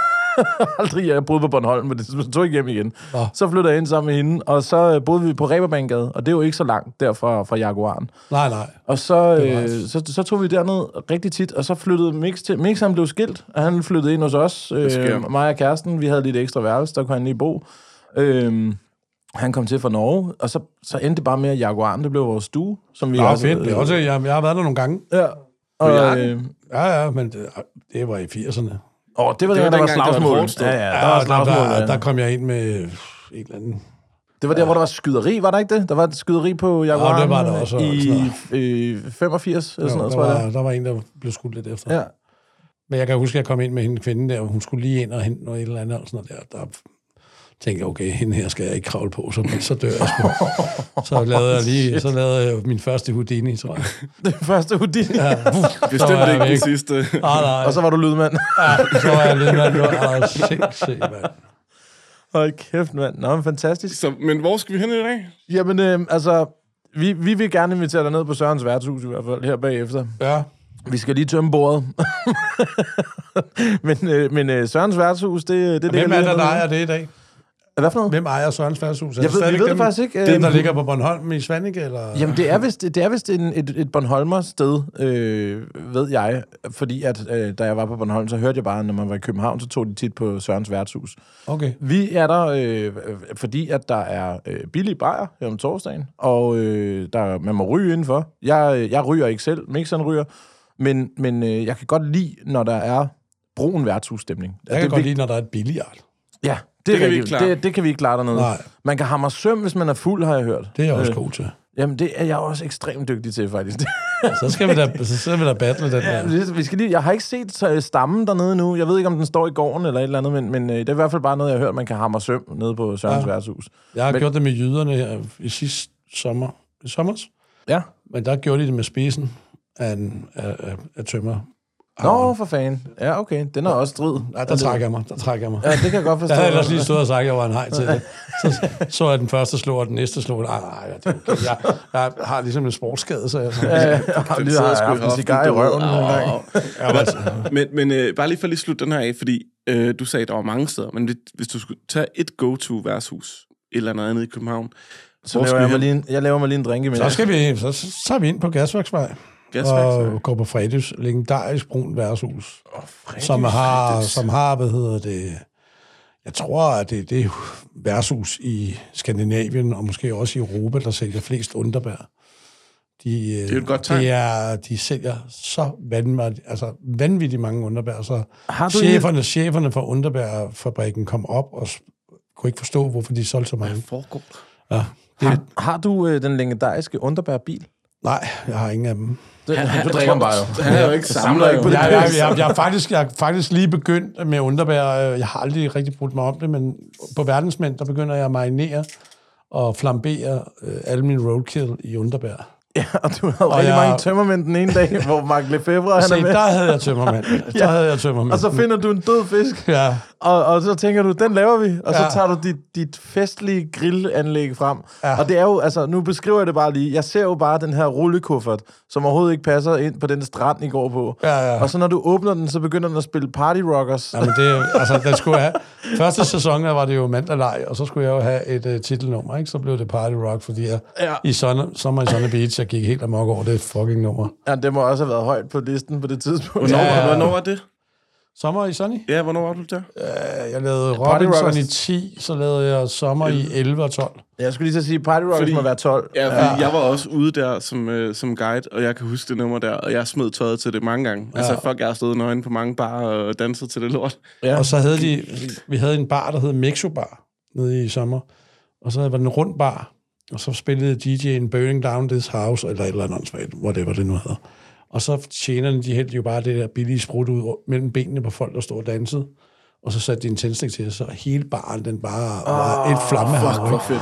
Speaker 4: aldrig hjem. Jeg boede på Bornholm, men det- så tog jeg ikke hjem igen. Nå. Så flyttede jeg ind sammen med hende, og så øh, boede vi på Reberbangade, og det er jo ikke så langt derfra fra Jaguaren.
Speaker 6: Nej, nej.
Speaker 4: Og så, øh, så, så tog vi derned rigtig tit, og så flyttede Mix til. Mix han blev skilt, og han flyttede ind hos os, øh,
Speaker 5: sker.
Speaker 4: mig og kæresten. Vi havde lidt ekstra værelse, der kunne han lige bo. Øh, Han kom til fra Norge, og så, så endte det bare med, at Jaguaren, det blev vores stue, som vi
Speaker 6: Nå, fedt. Det er også, jeg, jeg har været der nogle gange.
Speaker 4: Ja. Og,
Speaker 5: Jakken?
Speaker 4: øh,
Speaker 6: Ja, ja, men det, det var i 80'erne.
Speaker 4: åh, det var det, der var
Speaker 5: var dengang, det var et
Speaker 4: slagsmål.
Speaker 5: hårdt sted.
Speaker 4: ja, ja, der
Speaker 6: Ja,
Speaker 4: var
Speaker 6: og der,
Speaker 4: slagsmål.
Speaker 6: der,
Speaker 4: ja.
Speaker 6: der kom jeg ind med øh, en eller anden...
Speaker 4: Det var der, hvor der var skyderi, var der ikke det? Der var et skyderi på Jaguaren
Speaker 6: det var der også, og
Speaker 4: i
Speaker 6: sådan noget.
Speaker 4: øh, 85 eller sådan
Speaker 6: Jo,
Speaker 4: noget,
Speaker 6: der,
Speaker 4: tror jeg. det
Speaker 6: var, der var en, der blev skudt lidt efter.
Speaker 4: er. Ja.
Speaker 6: Men jeg kan huske, at jeg kom ind med hende kvinden der, og hun skulle lige ind og hente noget et eller andet, og sådan noget der. der tænkte jeg, okay, hende her skal jeg ikke kravle på, så, så dør jeg sgu. så, lavede jeg lige, så lavede jeg min første Houdini, tror jeg.
Speaker 4: Den første Houdini. Ja.
Speaker 5: Bestemt
Speaker 6: Så er
Speaker 5: ikke
Speaker 6: vi
Speaker 5: den
Speaker 6: ikke.
Speaker 5: sidste.
Speaker 6: Ah, nej,
Speaker 4: Og så var du lydmand.
Speaker 6: så var jeg lidt, man, det var ah, sindssygt, mand.
Speaker 4: Hold kæft, mand. Nå, men fantastisk.
Speaker 5: Så, men hvor skal vi hen i dag?
Speaker 4: Jamen, øh, altså, vi, vi vil gerne invitere dig ned på Sørens værtshus i hvert fald, her bagefter.
Speaker 6: Ja,
Speaker 4: Vi skal lige tømme bordet. men øh, men øh, Sørens værtshus, det, det ligger
Speaker 6: hvem er
Speaker 4: lige
Speaker 6: der, der
Speaker 4: hernede.
Speaker 6: ejer det i dag?
Speaker 4: Hvad for noget?
Speaker 6: Hvem ejer Sørens Færdshus?
Speaker 4: Jeg ved, vi ved det faktisk ikke.
Speaker 6: Dem, der
Speaker 4: Øhm,
Speaker 6: ligger på Bornholm i Svanike, eller?
Speaker 4: Jamen, det er vist, det er vist en, et, et Bornholmer-sted, øh, ved jeg. Fordi at, øh, da jeg var på Bornholm, så hørte jeg bare, at når man var i København, så tog de tit på Sørens værtshus.
Speaker 6: Okay.
Speaker 4: Vi er der, øh, fordi at der er øh, billige bajer her om torsdagen, og øh, der, man må ryge indenfor. Jeg, øh, jeg ryger ikke selv, Mixeren ryger, men, men øh, jeg kan godt lide, når der er brun værtshusstemning.
Speaker 6: Jeg
Speaker 4: det,
Speaker 6: kan
Speaker 4: er
Speaker 6: godt
Speaker 4: vigt-
Speaker 6: lide, når der er et billigart.
Speaker 4: Ja, det, er
Speaker 5: kan vi
Speaker 4: rigtigt.
Speaker 5: ikke klare.
Speaker 4: Det, det kan vi ikke klare dernede.
Speaker 6: Nej.
Speaker 4: Man kan hamre søm, hvis man er fuld, har jeg hørt.
Speaker 6: Det er jeg også god til.
Speaker 4: Jamen, det er jeg også ekstremt dygtig til, faktisk.
Speaker 6: Så skal vi da, så skal vi da battle den der.
Speaker 4: vi skal lige, jeg har ikke set øh, stammen dernede nu. Jeg ved ikke, om den står i gården eller et eller andet, men, men øh, det er i hvert fald bare noget, jeg har hørt, man kan hamre søm nede på Sørens ja.
Speaker 6: Ja.
Speaker 4: værtshus.
Speaker 6: Jeg har
Speaker 4: Men-
Speaker 6: men... gjort det med jyderne her i sidste sommer. I sommers?
Speaker 4: Ja.
Speaker 6: Men der gjorde de det med spisen af, en, af, af, af tømmer.
Speaker 4: Nå, for fanden. Ja, okay. Den er også strid.
Speaker 6: Nej, der trækker jeg mig. Der trækker jeg mig.
Speaker 4: Ja, det kan jeg godt forstå.
Speaker 6: Jeg havde ellers lige stået og sagt, at jeg var en hej til det. Så så jeg den første slå, og den næste slå. Nej, nej, det er okay. jeg, jeg har ligesom en sportsskade, så jeg...
Speaker 4: Ja, ja, jeg har lige
Speaker 5: sidder
Speaker 4: haft
Speaker 5: sgu i
Speaker 4: en
Speaker 5: hoften,
Speaker 4: cigar i
Speaker 5: du ved.
Speaker 4: røven.
Speaker 5: Au,
Speaker 4: dengang.
Speaker 5: au, au. Men, men øh, bare lige for at lige slutte den her af, fordi øh, du sagde, at der var mange steder, men hvis, hvis du skulle tage et go-to-værtshus, et eller andet andet i København,
Speaker 4: Så laver jeg, mig lige en, jeg laver mig lige en drink
Speaker 6: Så
Speaker 4: imellem.
Speaker 6: skal vi, så, så tager vi ind på Gasværksvej.
Speaker 5: Gasværksvej.
Speaker 6: Og går på Fredys legendarisk brun værtshus. Oh, som har, som har, hvad hedder det, jeg tror, at det er det værtshus i Skandinavien, og måske også i Europa, der sælger flest underbær. De, øh, det
Speaker 5: er jo et godt tegn.
Speaker 6: De, er, de sælger så vanvittigt, altså vanvittigt mange underbær. Så
Speaker 4: Har du
Speaker 6: cheferne, cheferne fra underbærfabrikken kom op og s- kunne ikke forstå, hvorfor de solgte så mange.
Speaker 5: foregår.
Speaker 6: Ja.
Speaker 4: Har, har du øh, den legendariske underbærbil?
Speaker 6: Nej, jeg har ingen af dem.
Speaker 4: Det, han, du drikker den bare jo.
Speaker 5: Han er jo ikke samler ikke på det.
Speaker 6: jeg, jeg, jeg, jeg, er faktisk, jeg er faktisk lige begyndt med underbær. Jeg har aldrig rigtig brugt mig om det, men på verdensmænd, der begynder jeg at marinere og flambere øh, alle mine roadkill i underbær.
Speaker 4: Ja, og du havde
Speaker 6: Og
Speaker 4: rigtig
Speaker 6: jeg-
Speaker 4: mange tømmermænd den ene dag, hvor Mark Lefebvre han
Speaker 6: Se,
Speaker 4: er med.
Speaker 6: der havde jeg tømmermænd. Der
Speaker 4: Ja.
Speaker 6: havde jeg tømmermænd.
Speaker 4: Og så finder du en død fisk,
Speaker 6: Ja,
Speaker 4: og, og så tænker du, den laver vi. Og så
Speaker 6: Ja.
Speaker 4: tager du dit, dit festlige grillanlæg frem.
Speaker 6: Ja.
Speaker 4: Og det er jo, altså, nu beskriver jeg det bare lige. Jeg ser jo bare den her rullekuffert, som overhovedet ikke passer ind på den strand, I går på.
Speaker 6: Ja, ja.
Speaker 4: Og så når du åbner den, så begynder den at spille Party Rockers.
Speaker 6: Jamen, det, er jo- altså, den skulle have... Første sæson der var det jo mandalej, og så skulle jeg jo have et uh, titelnummer, ikke? Så blev det Party Rock, fordi jeg
Speaker 4: Ja.
Speaker 6: ja. i Sun, Summer i Sunny Beach, jeg gik helt amok over det fucking nummer.
Speaker 4: Ja, det må også have været højt på listen på det tidspunkt.
Speaker 5: Hvornår,
Speaker 6: Ja.
Speaker 5: hvornår var det?
Speaker 6: Sommer i Sunny?
Speaker 5: Ja, hvornår var du der?
Speaker 6: Jeg lavede
Speaker 4: Party
Speaker 6: Robinson i
Speaker 4: Rockers.
Speaker 6: 10, så lavede jeg Sommer i 11 og 12.
Speaker 4: Jeg skulle lige til at sige, Party Rockers
Speaker 5: Fordi-
Speaker 4: må være 12.
Speaker 5: Ja, fordi jeg var også ude der som, øh, som guide, og jeg kan huske det nummer der, og jeg smed tøjet til det mange gange. Altså, fuck, jeg har stået nøgen på mange barer og danset til det lort.
Speaker 4: Ja.
Speaker 6: Og så havde de, vi havde en bar, der hed Mexo Bar, nede i sommer. Og så var den en rund bar, og så spillede DJ'en Burning Down This House, eller et eller andet åndssvagt, whatever det nu hedder. Og så tjenerne, de hældte jo bare det der billige sprut ud mellem benene på folk, der stod og dansede. Og så satte de en tændstik til, så hele baren, den bare oh,
Speaker 4: Ah,
Speaker 6: var et flammehav. ikke?
Speaker 5: Fedt.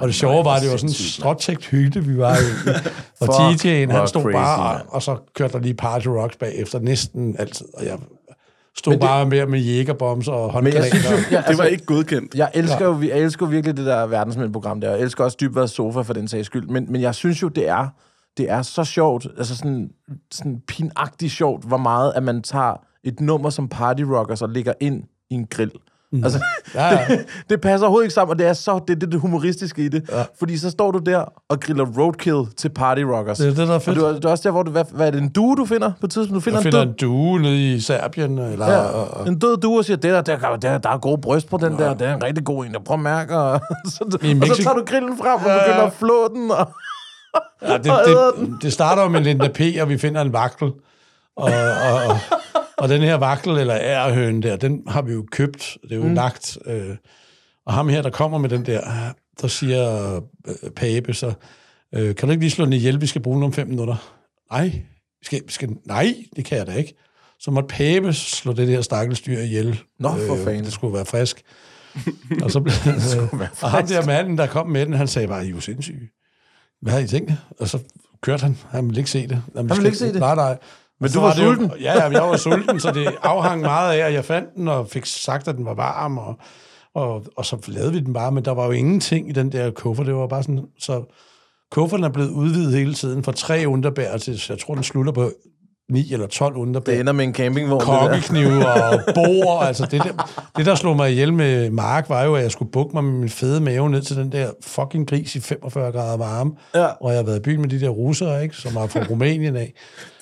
Speaker 6: Og det sjove var, at det var sådan en stråtægt hygge, vi var i. Og
Speaker 4: Fuck,
Speaker 6: DJ'en,
Speaker 4: hvor
Speaker 6: han stod
Speaker 4: crazy,
Speaker 6: bare,
Speaker 4: mand.
Speaker 6: og så kørte der lige Party Rocks bagefter, næsten altid. Og jeg stod det... bare med, med jægerbombs og
Speaker 4: Men jeg synes jo,
Speaker 6: håndgranater.
Speaker 4: jeg, altså-
Speaker 5: Det var ikke godkendt.
Speaker 4: Jeg elsker, jo, jeg elsker jo virkelig det der verdensmændprogram der, og jeg elsker også Dybvads sofa for den sags skyld, men, men jeg synes jo, det er, det er så sjovt, altså sådan, sådan pinagtigt sjovt, hvor meget, at man tager et nummer som Party Rockers og lægger ind i en grill. Mm. Altså,
Speaker 6: Ja, ja.
Speaker 4: det passer overhovedet ikke sammen, og det er så det, det, det humoristiske i det. Ja. Fordi så står du der og griller roadkill til party rockers.
Speaker 6: Det er det, der er fedt.
Speaker 4: Og du, er- du er også der, hvor du, hvad, hvad er det, en due, du finder på et tidspunkt? Du finder,
Speaker 6: Jeg finder
Speaker 4: en
Speaker 6: en
Speaker 4: død,
Speaker 6: due nede i Serbien, eller...
Speaker 4: ja,
Speaker 6: Og, og,
Speaker 4: en død due og siger, det der, der, der, der, der er gode bryst på den der, der er en rigtig god en, og prøv at mærke. Og, så, og så
Speaker 6: Mexi-
Speaker 4: tager du grillen frem, og begynder at flå den. Og,
Speaker 6: ja, det, det, det starter jo med Linda P., og vi finder en vakkel. Og, og, og, og den her vakkel, eller ærehøn der, den har vi jo købt. Det er jo mm. lagt. Øh, og ham her, der kommer med den der, der siger øh, Pape, så øh, kan du ikke lige slå den ihjel, vi skal bruge den om fem minutter? Nej, skal, skal, nej, det kan jeg da ikke. Så måtte Pape slå det der stakkels dyr ihjel. Øh,
Speaker 4: Nå, for fanden.
Speaker 6: Det skulle være frisk. og så blev Og ham der manden, der kom med den, han sagde bare, I er jo sindssyge. Hvad har I tænkt? Og så kørte han. Han ville ikke se det. Jamen,
Speaker 4: ville
Speaker 6: vi skal-
Speaker 4: ikke se det?
Speaker 6: Nej, nej. Men
Speaker 4: du var sulten?
Speaker 6: Jo, ja, ja, men jeg var sulten, så det afhang meget af, at jeg fandt den, og fik sagt, at den var varm, og, og, og så lavede vi den bare, men der var jo ingenting i den der kuffert. Det var bare sådan, så kufferten er blevet udvidet hele tiden fra tre underbær til, jeg tror, den slutter på 9 eller 12 underbær
Speaker 4: Det ender med en campingvogn. det der.
Speaker 6: kokkeknive og bord. Altså det, der, det, der slog mig ihjel med Mark, var jo, at jeg skulle bukke mig med min fede mave ned til den der fucking gris i 45 grader varme.
Speaker 4: Ja.
Speaker 6: Og jeg har været i byen med de der russere, ikke, som er fra Rumænien af.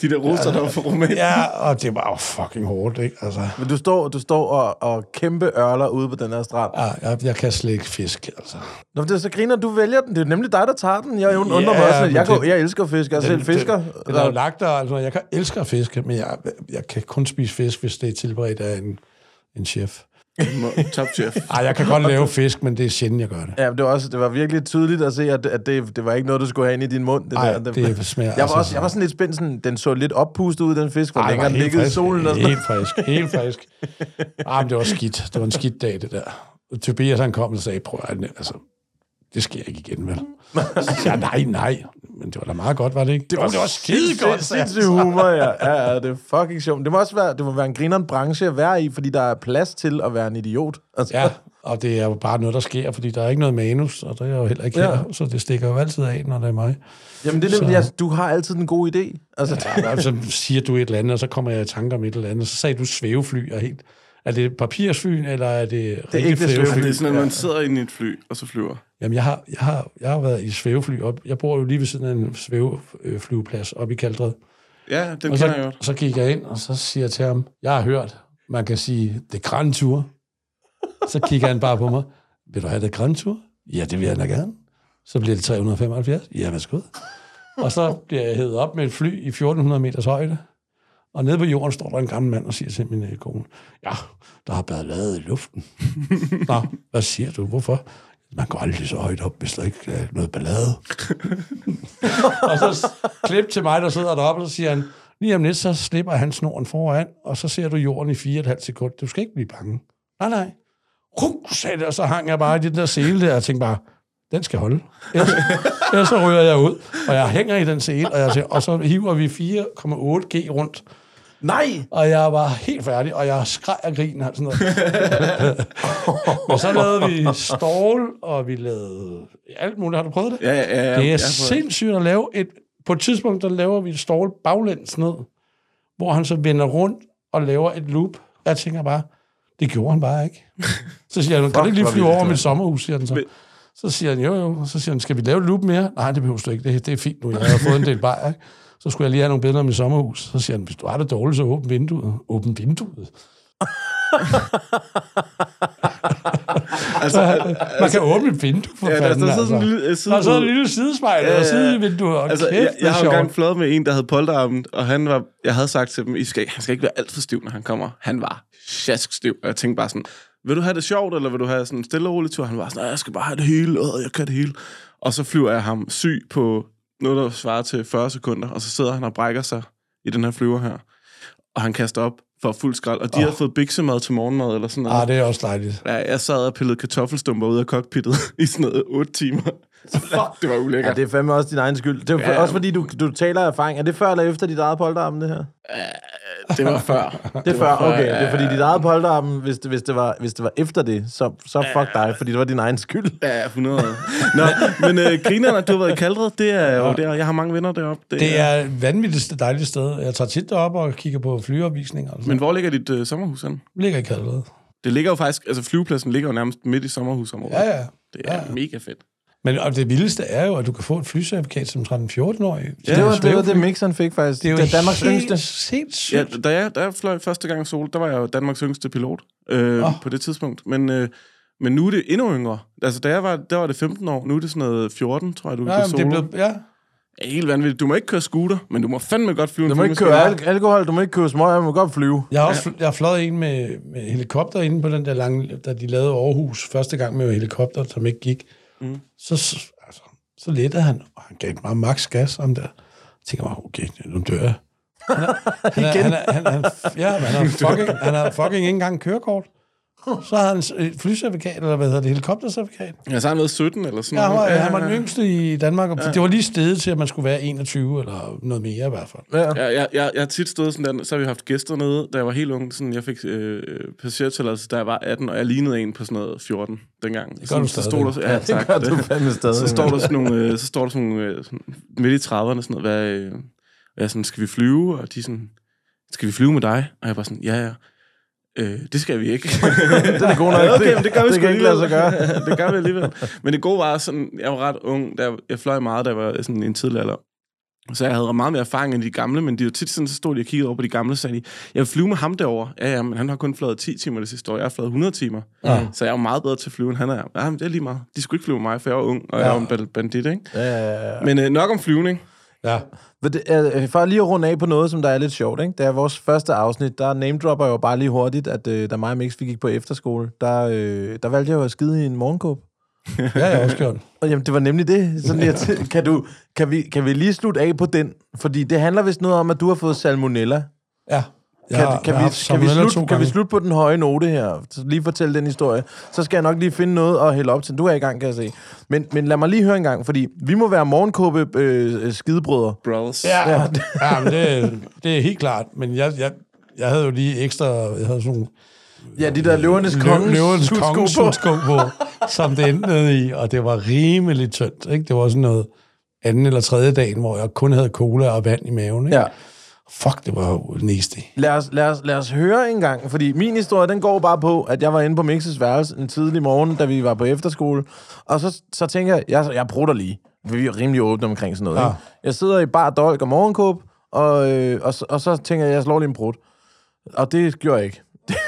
Speaker 5: De der russer, der var fra Rumænien.
Speaker 6: Ja, og det var jo fucking hårdt, ikke? Altså,
Speaker 4: Men du står, du står og, og kæmpe ørler ude på den her strand.
Speaker 6: ja, jeg, jeg kan slet ikke fisk, altså.
Speaker 4: Nå, men det er så griner, du vælger den. Det er jo nemlig dig, der tager den. Jeg undrer
Speaker 6: Ja,
Speaker 4: mig også lidt.
Speaker 6: men
Speaker 4: Jeg,
Speaker 6: det-
Speaker 4: kan, jeg elsker fisk. Jeg er selv fisker.
Speaker 6: Det, det, det er jo lagt der, altså. Jeg kan, elsker at fiske, men jeg, jeg kan kun spise fisk, hvis det er tilberedt af en, en chef.
Speaker 5: Top chef.
Speaker 6: Ej, jeg kan godt lave fisk, men det er sjældent, jeg gør det.
Speaker 4: Ja, men det var, også, det var virkelig tydeligt at se, at, at det, det var ikke noget, du skulle have ind i din mund. Det
Speaker 6: Ej,
Speaker 4: der. Den-
Speaker 6: det smager
Speaker 4: jeg var,
Speaker 6: altså-
Speaker 4: også, jeg var sådan lidt spændt. Sådan, den så lidt oppustet ud, den fisk. Hvor
Speaker 6: Ej,
Speaker 4: længere
Speaker 6: var
Speaker 4: den
Speaker 6: helt
Speaker 4: liggede i
Speaker 6: frisk.
Speaker 4: solen. Og sådan.
Speaker 6: Helt frisk, helt frisk. Ej, men det var skidt. Det var en skidt dag, det der. Tobias han kom og sagde, prøv at altså, det sker ikke igen, vel? Så sagde jeg, nej, nej. Men det var da meget godt, var det ikke? Det var, det var skide
Speaker 4: Sindssygt-
Speaker 6: godt. altså.
Speaker 4: Sindssygt humor, ja. ja. ja, det er fucking sjovt. Det må også være, det må være en grineren branche at være i, fordi der er plads til at være en idiot. Altså,
Speaker 6: Ja, og det er jo bare noget, der sker, fordi der er ikke noget manus, og der er jeg jo heller ikke ja. her, så det stikker jo altid af, når det er mig.
Speaker 4: Jamen, det er nemlig, altså, du har altid en god idé. Altså,
Speaker 6: Ja, og så siger du et eller andet, og så kommer jeg i tanker om et eller andet, og så sagde du svævefly, og helt... Er det papirsfyn, eller er det
Speaker 4: det er ikke det
Speaker 5: Ja, det er
Speaker 4: svævefly.
Speaker 5: sådan, at man sidder inde i et fly, og så flyver.
Speaker 6: Jamen, jeg har, jeg har, jeg har været i svævefly op. Jeg bor jo lige ved siden af en svæveflyveplads oppe i Kaldred.
Speaker 5: Ja, den
Speaker 6: Og
Speaker 5: kender jeg
Speaker 6: så,
Speaker 5: godt.
Speaker 6: så gik jeg ind, og så siger jeg til ham, jeg har hørt, man kan sige, det er Grand Tour. Så kigger han bare på mig, vil du have det Grand Tour? Ja, det vil jeg da gerne. Så bliver det 375. Ja, værsgo. Og så bliver jeg hævet op med et fly i 1400 meters højde. Og nede på jorden står der en gammel mand og siger til min øh, kone, ja, der har været lavet i luften. Nå, hvad siger du? Hvorfor? Man går aldrig så højt op, hvis der ikke er noget ballade. og så s- klip til mig, der sidder deroppe, og så siger han, lige om lidt, så slipper han snoren foran, og så ser du jorden i fire og et halvt sekund. Du skal ikke blive bange. Nej, nej. Ruk, sagde det, og så hang jeg bare i den der sele der, og tænkte bare, den skal holde. Ellers, ellers så ryger jeg ud, og jeg hænger i den sele, og, jeg tænker, og så hiver vi 4,8G rundt.
Speaker 4: Nej!
Speaker 6: Og jeg var helt færdig, og jeg skreg og grin og sådan noget. og så lavede vi stål, og vi lavede alt muligt. Har du prøvet det?
Speaker 5: Ja, ja, ja.
Speaker 6: det er
Speaker 5: jeg prøver-
Speaker 6: sindssygt at lave et... På et tidspunkt, der laver vi et stål baglæns ned, hvor han så vender rundt og laver et loop. Jeg tænker bare, det gjorde han bare ikke. Så siger han, kan du ikke lige
Speaker 4: hvor
Speaker 6: flyve
Speaker 4: vildt,
Speaker 6: over
Speaker 4: mand.
Speaker 6: mit sommerhus, siger han så. Så siger han, jo jo. Så siger han, skal vi lave et loop mere? Nej, det behøver du ikke. Det, det er fint nu. Jeg har fået en del bajer. Ikke? Så skulle jeg lige have nogle billeder af mit sommerhus. Så siger han, hvis du har det dårligt, så åbn vinduet. Åbn vinduet?
Speaker 5: Altså,
Speaker 6: Man kan åbne et vindue, for
Speaker 5: Ja, der-
Speaker 6: fanden, altså.
Speaker 5: der sidder sådan en lille-
Speaker 6: Der sidder en lille sidespejl, ja, ja, ja. og sidevindue, og
Speaker 5: altså,
Speaker 6: kæft,
Speaker 5: jeg, jeg har jo
Speaker 6: det er
Speaker 5: engang
Speaker 6: sjovt.
Speaker 5: fløjet med en, der havde polterarmen, og han var, jeg havde sagt til dem, I skal, han skal ikke være alt for stiv, når han kommer. Han var sjaskstiv, og jeg tænkte bare sådan, vil du have det sjovt, eller vil du have sådan en stille og rolig tur? Han var sådan, "Nej, jeg skal bare have det hele, og jeg kan det hele. Og så flyver jeg ham syg på noget, der svarer til 40 sekunder, og så sidder han og brækker sig i den her flyver her. Og han kaster op for fuld skrald, og de oh. havde fået biksemad til morgenmad, eller sådan noget.
Speaker 6: Ah, det er også dejligt.
Speaker 5: Ja, jeg sad og pillede kartoffelstumper ud af cockpittet i sådan noget 8 timer. det var
Speaker 4: Ja,
Speaker 5: ulækkert.
Speaker 4: det er fandme også din egen skyld. Det er ja,
Speaker 5: Ja.
Speaker 4: også fordi, du, du taler af erfaring. Er det før eller efter dit eget polterarm, det her?
Speaker 5: det var før.
Speaker 4: Det er før, okay. Det er fordi dit eget polterarm, hvis det, hvis det, var, hvis det var efter det, så, så fuck dig, fordi det var din egen skyld.
Speaker 5: Ja, 100. Nå, men øh, grinerne, du har været i Kaldred, det er jo der. Jeg har mange venner deroppe.
Speaker 6: Det er et vanvittigste dejligt sted. Jeg tager tit derop og kigger på flyopvisninger. Altså.
Speaker 5: Men hvor ligger dit øh, sommerhus hen?
Speaker 6: ligger ikke allerede.
Speaker 5: Det ligger jo faktisk, altså flyvepladsen ligger jo nærmest midt i sommerhusområdet.
Speaker 6: Ja, ja.
Speaker 5: Det er ja. mega fedt.
Speaker 6: Men og det vildeste er jo, at du kan få et flycertifikat som 13-14-årig.
Speaker 4: Ja, det var det, var det mixeren fik faktisk. Det,
Speaker 6: jo
Speaker 4: det er Danmarks
Speaker 6: helt
Speaker 4: yngste.
Speaker 6: sindssygt.
Speaker 5: Ja, da jeg, da jeg fløj første gang sol, der var jeg jo Danmarks yngste pilot øh, oh. på det tidspunkt. Men, øh, men nu er det endnu yngre. Altså, da jeg var, der var det 15 år. Nu er det sådan noget 14, tror jeg, du kan
Speaker 6: Nej,
Speaker 5: ja,
Speaker 6: men det
Speaker 5: solo.
Speaker 6: er
Speaker 5: Det
Speaker 6: blevet, ja.
Speaker 5: er helt vanvittigt. Du må ikke køre scooter, men du må fandme godt flyve
Speaker 4: Du
Speaker 5: en
Speaker 4: må ikke
Speaker 5: flyvemaskine.
Speaker 4: købe al- alkohol, du må ikke købe smøger, du må godt flyve.
Speaker 6: Jeg har, også, jeg har fløjet en med, med helikopter inde på den der lange, da de lavede Aarhus første gang med helikopter, som ikke gik. Mm. Så, så- altså, så lettede han, og han gav mig max gas om der. Jeg tænker mig, okay, nu dør jeg. Han er, han er, han er, han er, ja, men han har fucking, han har fucking ikke engang kørekort. Så havde han s- et flycertifikat, eller hvad hedder det, helikoptercertifikat.
Speaker 5: Ja, så har han været 17 eller sådan
Speaker 6: Ja, han var,
Speaker 5: noget.
Speaker 6: han var den yngste i Danmark, og det var lige stedet til, at man skulle være 21 eller noget mere i hvert fald.
Speaker 5: Jeg, jeg, jeg, jeg har tit stået sådan der, så har vi haft gæster nede, da jeg var helt ung. Sådan, jeg fik øh, passagertilladelse, da jeg var 18, og jeg lignede en på sådan noget 14 dengang. Det
Speaker 6: gør du
Speaker 5: så
Speaker 6: stadig.
Speaker 5: stod der, så- ja,
Speaker 4: Det
Speaker 5: tak,
Speaker 4: gør du fandme stadig.
Speaker 5: Så står
Speaker 4: mand.
Speaker 5: der sådan nogle, øh, så står der sådan nogle øh, sådan, midt i 30'erne, sådan noget, hvad, øh, og jeg er sådan, skal vi flyve? Og de er sådan, skal vi flyve med dig? Og jeg er bare sådan, ja, ja. Øh, det skal vi ikke. det er det gode nok. Okay, men det gør vi
Speaker 4: Det
Speaker 5: sgu
Speaker 4: kan ikke lade sig
Speaker 5: alligevel. det gør vi alligevel. Men det gode var sådan, jeg var ret ung, der, jeg fløj meget, da jeg var sådan i en tidlig alder. Så jeg havde meget mere erfaring end de gamle, men de var tit sådan, så stod de og kiggede over på de gamle, og sagde de, jeg vil flyve med ham derovre. Ja, ja, men han har kun fløjet 10 timer det sidste år, jeg har fløjet 100 timer. Ja. Så jeg er jo meget bedre til at flyve, end han er. Ja, men det er lige meget. De skulle ikke flyve med mig, for jeg var ung, og ja. jeg var en band- bandit, ikke? Ja. Men øh, nok om flyvning.
Speaker 6: Ja.
Speaker 4: Men det er- øh, For lige at runde af på noget, som der er lidt sjovt, ikke? det er vores første afsnit, der namedropper jeg jo bare lige hurtigt, at øh, da mig og Mix vi gik på efterskole, der, øh, der valgte jeg jo at skide i en morgenkåb.
Speaker 6: Ja, jeg har også gjort.
Speaker 4: Og jamen, det var nemlig det. Sådan, jeg tæ- kan, du, kan, vi, kan vi lige slutte af på den? Fordi det handler vist noget om, at du har fået salmonella.
Speaker 6: Ja. Jeg
Speaker 4: Kan,
Speaker 6: har-
Speaker 4: kan,
Speaker 6: jeg har
Speaker 4: vi,
Speaker 6: haft
Speaker 4: kan, vi
Speaker 6: salmonella to
Speaker 4: slutte, kan vi
Speaker 6: gange.
Speaker 4: slutte på den høje note her? Så Lige fortælle den historie. Så skal jeg nok lige finde noget at hælde op til. Du er i gang, kan jeg se. Men, men lad mig lige høre en gang, fordi vi må være morgenkåbe øh, skidebrødre.
Speaker 5: Brothers.
Speaker 6: Ja, ja men det, det er helt klart. Men jeg, jeg, jeg havde jo lige ekstra... Jeg havde sådan nogle
Speaker 4: Ja, de der løvernes
Speaker 6: lø-
Speaker 4: konge
Speaker 6: løvernes
Speaker 4: sutsko
Speaker 6: konge
Speaker 4: på.
Speaker 6: sutsko på, som det endte nede i. Og det var rimelig tyndt. Ikke? Det var sådan noget anden eller tredje dagen, hvor jeg kun havde cola og vand i maven. Ikke?
Speaker 4: Ja.
Speaker 6: Fuck, det var jo nasty.
Speaker 4: Lad os, lad, os, lad os høre en gang, fordi min historie, den går bare på, at jeg var inde på Mixes værelse en tidlig morgen, da vi var på efterskole, og så, så tænker jeg, jeg, jeg prutter lige. Vi er rimelig åbne omkring sådan noget, ja. ikke? Jeg sidder i bar dolk og morgenkåb, og, øh, og, så- og så tænker jeg, jeg slår lige en brud. Og det gjorde jeg ikke.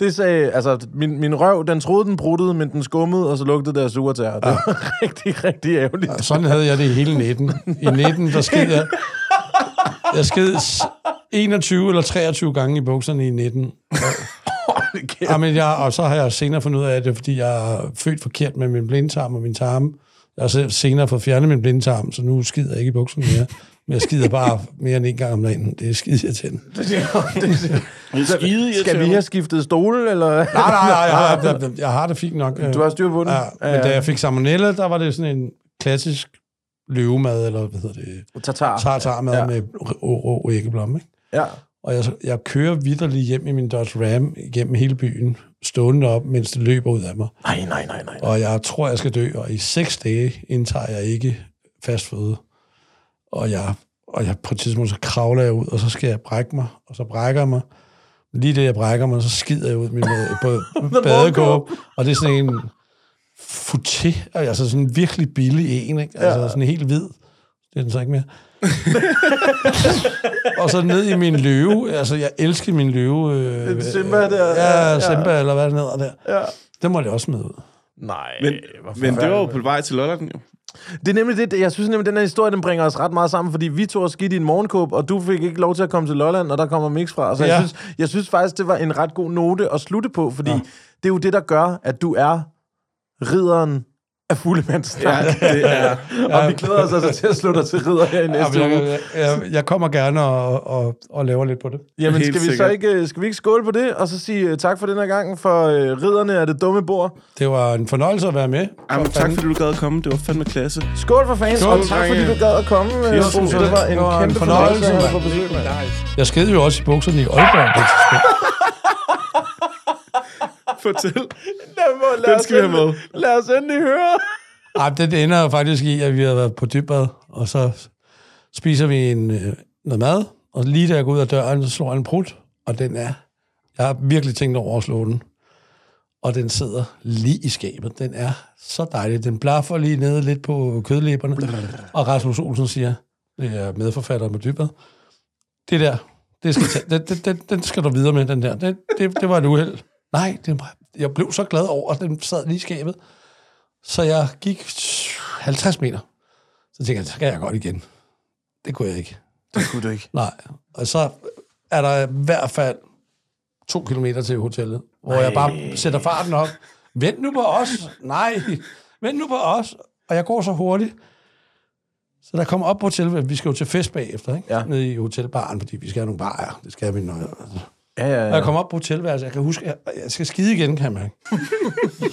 Speaker 4: det sagde, altså, min, min røv, den troede, den bruttede, men den skummede, og så lugtede der surtær. Det var rigtig, rigtig ærgerligt.
Speaker 6: Og sådan havde jeg det i hele 19. I 19, der sked jeg... Jeg sked s- 21 eller 23 gange i bukserne i 19. Ja, men jeg, og så har jeg senere fundet ud af, at det er, fordi jeg er født forkert med min blindtarm og min tarme. Jeg har selv senere fået fjernet min blindtarm, så nu skider jeg ikke i bukserne mere. Men jeg skider bare mere end en gang om dagen. Det er skide jeg til. Nej,
Speaker 5: Skide
Speaker 4: Skal vi have skiftet stole, eller?
Speaker 6: nej, nej, jeg har, jeg, jeg har det fint nok.
Speaker 4: Du har styr på den?
Speaker 6: Ja, men da jeg fik salmonella, der var det sådan en klassisk løvemad, eller hvad hedder det?
Speaker 4: Tatar.
Speaker 6: Tartarmad
Speaker 4: Ah, Ja.
Speaker 6: ja. med rå, rå æggeblom, ikke?
Speaker 4: Ja.
Speaker 6: Og jeg, jeg kører vidderlig hjem i min Dodge Ram gennem hele byen, stående op, mens det løber ud af mig.
Speaker 4: Nej, nej, nej, nej.
Speaker 6: Og jeg tror, jeg skal dø, og i seks dage indtager jeg ikke fast føde. Og jeg, og jeg på et tidspunkt, så kravler jeg ud, og så skal jeg brække mig, og så brækker jeg mig. Lige det, jeg brækker mig, så skider jeg ud min bade, badekåb, og det er sådan en futé, altså sådan en virkelig billig en, ikke? Altså sådan helt hvid. Det er den så ikke mere. og så ned i min løve. Altså, jeg elsker min løve. Øh,
Speaker 4: Simba der.
Speaker 6: Ja, Simba, ja. eller hvad den hedder der. Ja. Den må jeg også med ud.
Speaker 4: Nej,
Speaker 5: Men,
Speaker 4: hvor
Speaker 5: men det var jo
Speaker 4: forfærdeligt.
Speaker 5: på vej til Lolland, jo.
Speaker 4: Det er nemlig det, jeg synes nemlig, den her historie, den bringer os ret meget sammen, fordi vi tog os skidt i en morgenkåb, og du fik ikke lov til at komme til Lolland, og der kommer Mix fra. Så ja.
Speaker 6: Ja.
Speaker 4: jeg, synes, jeg synes faktisk, det var en ret god note at slutte på, fordi ja. det er jo det, der gør, at du er ridderen af
Speaker 5: Ja,
Speaker 4: fuglemandsnak.
Speaker 5: det er...
Speaker 4: Ja. Og vi glæder os altså til at slå dig til ridder her i næste
Speaker 6: Ja, men
Speaker 4: uge.
Speaker 6: jeg, jeg, jeg kommer gerne og, og, og laver lidt på det.
Speaker 4: Jamen,
Speaker 5: Helt
Speaker 4: skal vi så
Speaker 5: sikkert.
Speaker 4: ikke, øh, skal vi ikke skåle på det, og så sige øh, tak for den her gang, for øh, ridderne er det dumme bord.
Speaker 6: Det var en fornøjelse at være med.
Speaker 5: Ej, men tak fordi du gad at komme. Det var fandme klasse.
Speaker 4: Skål for fans,
Speaker 5: Skål,
Speaker 4: og tak
Speaker 5: drenge.
Speaker 4: fordi du gad at komme. øh,
Speaker 5: Tusind
Speaker 4: Bo.
Speaker 5: tak.
Speaker 4: Det var en
Speaker 6: Det var en
Speaker 4: kæmpe
Speaker 6: fornøjelse,
Speaker 4: fornøjelse at
Speaker 6: mand.
Speaker 4: få besøg, mand.
Speaker 6: Jeg sked jo også i bukserne i Aalborg. på et tidspunkt.
Speaker 5: Fortæl.
Speaker 4: Lad, mig, lad,
Speaker 5: Den
Speaker 4: os
Speaker 5: skal vi have
Speaker 4: endelig- lad os endelig høre.
Speaker 6: Ej, det ender jo faktisk i, at vi har været på dybbad, og så spiser vi en, øh, noget mad, og lige da jeg går ud af døren, så slår jeg en brud, og den er... Jeg har virkelig tænkt over at slå den. og den sidder lige i skabet. Den er så dejlig. Den blaffer lige nede lidt på kødlæberne. Og Rasmus Olsen siger, det er medforfatter med dybvad, det der, det skal tage, den, den, den, den skal du videre med, den der. Det, det, det var et uheld. Nej, det var, jeg blev så glad over, at den sad lige i skabet. Så jeg gik 50 meter. Så tænkte jeg, så kan jeg godt igen. Det kunne jeg ikke.
Speaker 7: Det kunne du ikke.
Speaker 6: Nej. Og så er der i hvert fald to kilometer til hotellet, hvor jeg bare sætter farten op. Vent nu på os. Nej, vent nu på os. Og jeg går så hurtigt. Så der kommer op på hotellet. Vi skal jo til fest bagefter, ikke? Ja. Nede i hotelbaren, fordi vi skal have nogle bajer. Det skal vi, når
Speaker 4: Ja, ja,
Speaker 6: og
Speaker 4: ja.
Speaker 6: jeg kom op på hotelværelset. Jeg kan huske, jeg, jeg skal skide igen, kan jeg mærke.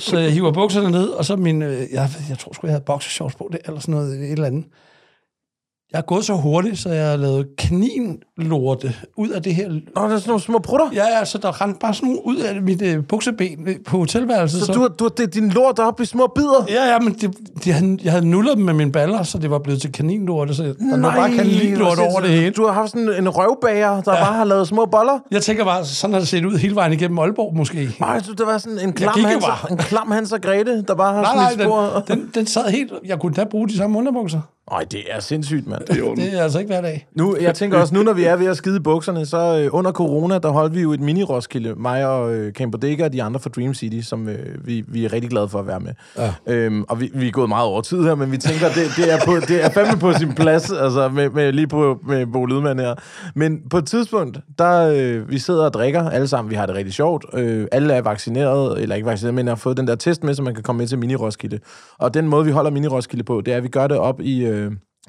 Speaker 6: så jeg hiver bukserne ned, og så min... øh, Jeg, jeg tror sgu, jeg havde boxershorts på det, eller sådan noget, et eller andet. Jeg er gået så hurtigt, så jeg har lavet kaninlorte ud af det her...
Speaker 4: Nå, der er sådan nogle små prutter.
Speaker 6: Ja, ja, så der rendte bare sådan nogle ud af mit øh, bukseben øh, på hotelværelset.
Speaker 4: Så du, har- du, har- det er din lort op i små bidder.
Speaker 6: Ja, ja, men det, de, havde- jeg havde nullet dem med mine baller, så det var blevet til kaninlorte, så der var bare kaninlorte
Speaker 4: hvor
Speaker 6: over det hele.
Speaker 4: sindssygt. Du har haft sådan en røvbager, der ja. bare har lavet små boller.
Speaker 6: Jeg tænker bare, sådan har det set ud hele vejen igennem Aalborg måske.
Speaker 4: Nej, du, der var sådan en klam,
Speaker 6: gik jo
Speaker 4: Hans,
Speaker 6: bare.
Speaker 4: en klam Hans og Grete, der bare har
Speaker 6: Nej, nej,
Speaker 4: sådan et spor.
Speaker 6: den, den, den sad helt... Jeg kunne da bruge de samme underbukser.
Speaker 4: Nej, det er sindssygt, mand.
Speaker 6: Det er altså ikke hver dag.
Speaker 4: Nu, jeg tænker også, nu når vi er ved at skide i bukserne, så øh, under corona, der holdt vi jo et mini-Roskilde, mig og øh, Camp Bodega og de andre fra Dream City, som øh, vi, vi er rigtig glade for at være med. Ja. Øhm, og vi, vi er gået meget over tid her, men vi tænker, det, det, er, på, det er fandme på sin plads, altså med, med, lige på med Bo Lydman her. Men på et tidspunkt, der øh, vi sidder og drikker alle sammen, vi har det rigtig sjovt. Øh, alle er vaccineret, eller ikke vaccineret, men har fået den der test med, så man kan komme med til mini-Roskilde. Og den måde, vi holder mini-Roskilde på, det er, at vi gør det op i... Øh,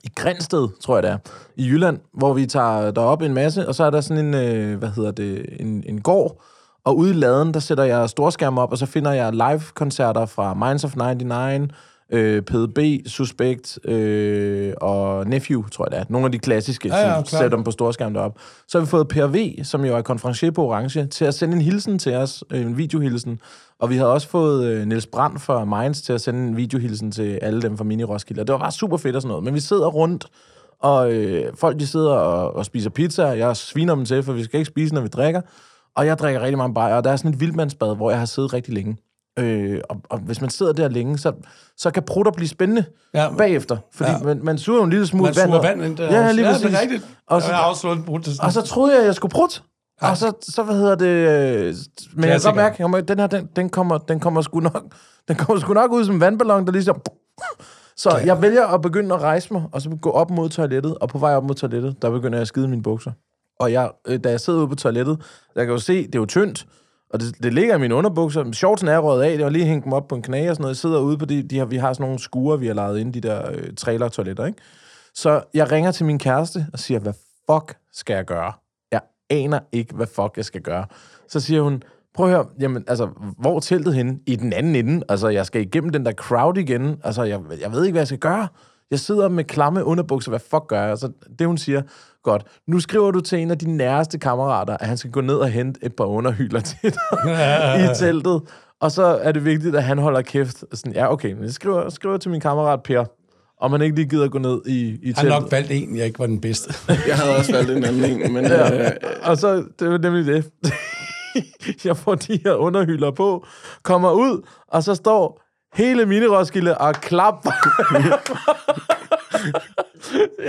Speaker 4: i Grænsted, tror jeg det er, i Jylland, hvor vi tager derop en masse, og så er der sådan en, øh, hvad hedder det, en, en gård, og ude i laden, der sætter jeg storskærm op, og så finder jeg live-koncerter fra Minds of 99, øh, PDB, Suspect øh, og Nephew, tror jeg det er. Nogle af de klassiske,
Speaker 6: ja,
Speaker 4: ja, ja,
Speaker 6: klart.
Speaker 4: sætter dem på storskærmen deroppe. Så har vi fået Per V, som jo er konferencier på Orange, til at sende en hilsen til os, øh, en videohilsen. Og vi havde også fået øh, Niels Brandt fra Minds til at sende en videohilsen til alle dem fra Mini Roskilde. Og det var bare super fedt og sådan noget. Men vi sidder rundt, og øh, folk de sidder og, og spiser pizza. Jeg sviner dem til, for vi skal ikke spise, når vi drikker. Og jeg drikker rigtig mange bajer, og der er sådan et vildmandsbad, hvor jeg har siddet rigtig længe. Øh, og, og hvis man sidder der længe, så, så kan prutter blive spændende
Speaker 6: Ja.
Speaker 4: ja, bagefter. Fordi ja. man, man suger jo en lille smule
Speaker 6: Man
Speaker 4: vand.
Speaker 6: suger
Speaker 4: op.
Speaker 6: vand ind der.
Speaker 4: Ja, lige
Speaker 6: ja,
Speaker 4: præcis.
Speaker 6: det er rigtigt.
Speaker 4: Og så,
Speaker 6: jeg har også slået en brudt til
Speaker 4: og så troede jeg, at jeg skulle brudt. Og så, så, hvad hedder det... øh, Men jeg kan godt mærke, at den her, den, den, kommer, den, kommer sgu nok, den kommer sgu nok ud som en vandballon, der lige så... Så jeg vælger at begynde at rejse mig, og så gå op mod toilettet, og på vej op mod toilettet, der begynder jeg at skide i mine bukser. Og jeg, øh, da jeg sidder ude på toilettet, jeg kan jo se, det er jo tyndt, og det, det ligger i mine underbukser. Shortsen er røget af, det var lige hængt dem op på en knæ og sådan noget. Jeg sidder ude på de, de her, vi har sådan nogle skure, vi har lejet ind, de der øh, trailer-toiletter, ikke? Så jeg ringer til min kæreste og siger, hvad fuck skal jeg gøre? Jeg aner ikke, hvad fuck jeg skal gøre. Så siger hun, prøv at høre, jamen, altså, hvor er teltet henne? I den anden ende. Altså, jeg skal igennem den der crowd igen. Altså, jeg, jeg ved ikke, hvad jeg skal gøre. Jeg sidder med klamme underbukser, hvad fuck gør jeg? Så det, hun siger, godt, nu skriver du til en af dine næreste kammerater, at han skal gå ned og hente et par underhyler til dig i teltet. Og så er det vigtigt, at han holder kæft. Sådan, ja, okay, men jeg skriver, skriver til min kammerat Per, om han ikke lige gider gå ned i, i
Speaker 6: Han
Speaker 4: teltet.
Speaker 6: har nok valgt en, jeg ikke var den bedste.
Speaker 5: Jeg havde også valgt en anden en, men ja. øh,
Speaker 4: Og så, det var nemlig det. jeg får de her underhylder på, kommer ud, og så står hele mine Roskilde og klapper.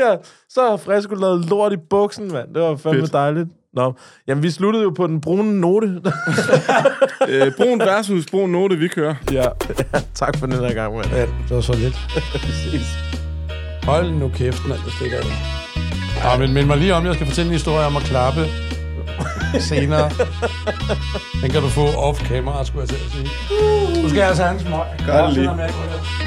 Speaker 4: ja, så har Fresco lavet lort i buksen, mand. Det var fandme Fedt. dejligt. Nå, jamen vi sluttede jo på den brune note.
Speaker 5: øh, brun versus brun note, vi kører.
Speaker 4: ja. tak for den her gang, mand.
Speaker 6: ja, det var så lidt. Hold nu kæft, når det stikker af. Ja, men mind mig lige om, jeg skal fortælle en historie om at klappe senere. Den kan du få off-camera, skulle jeg til at sige. Du skal jeg altså have en smøg. Godt lige.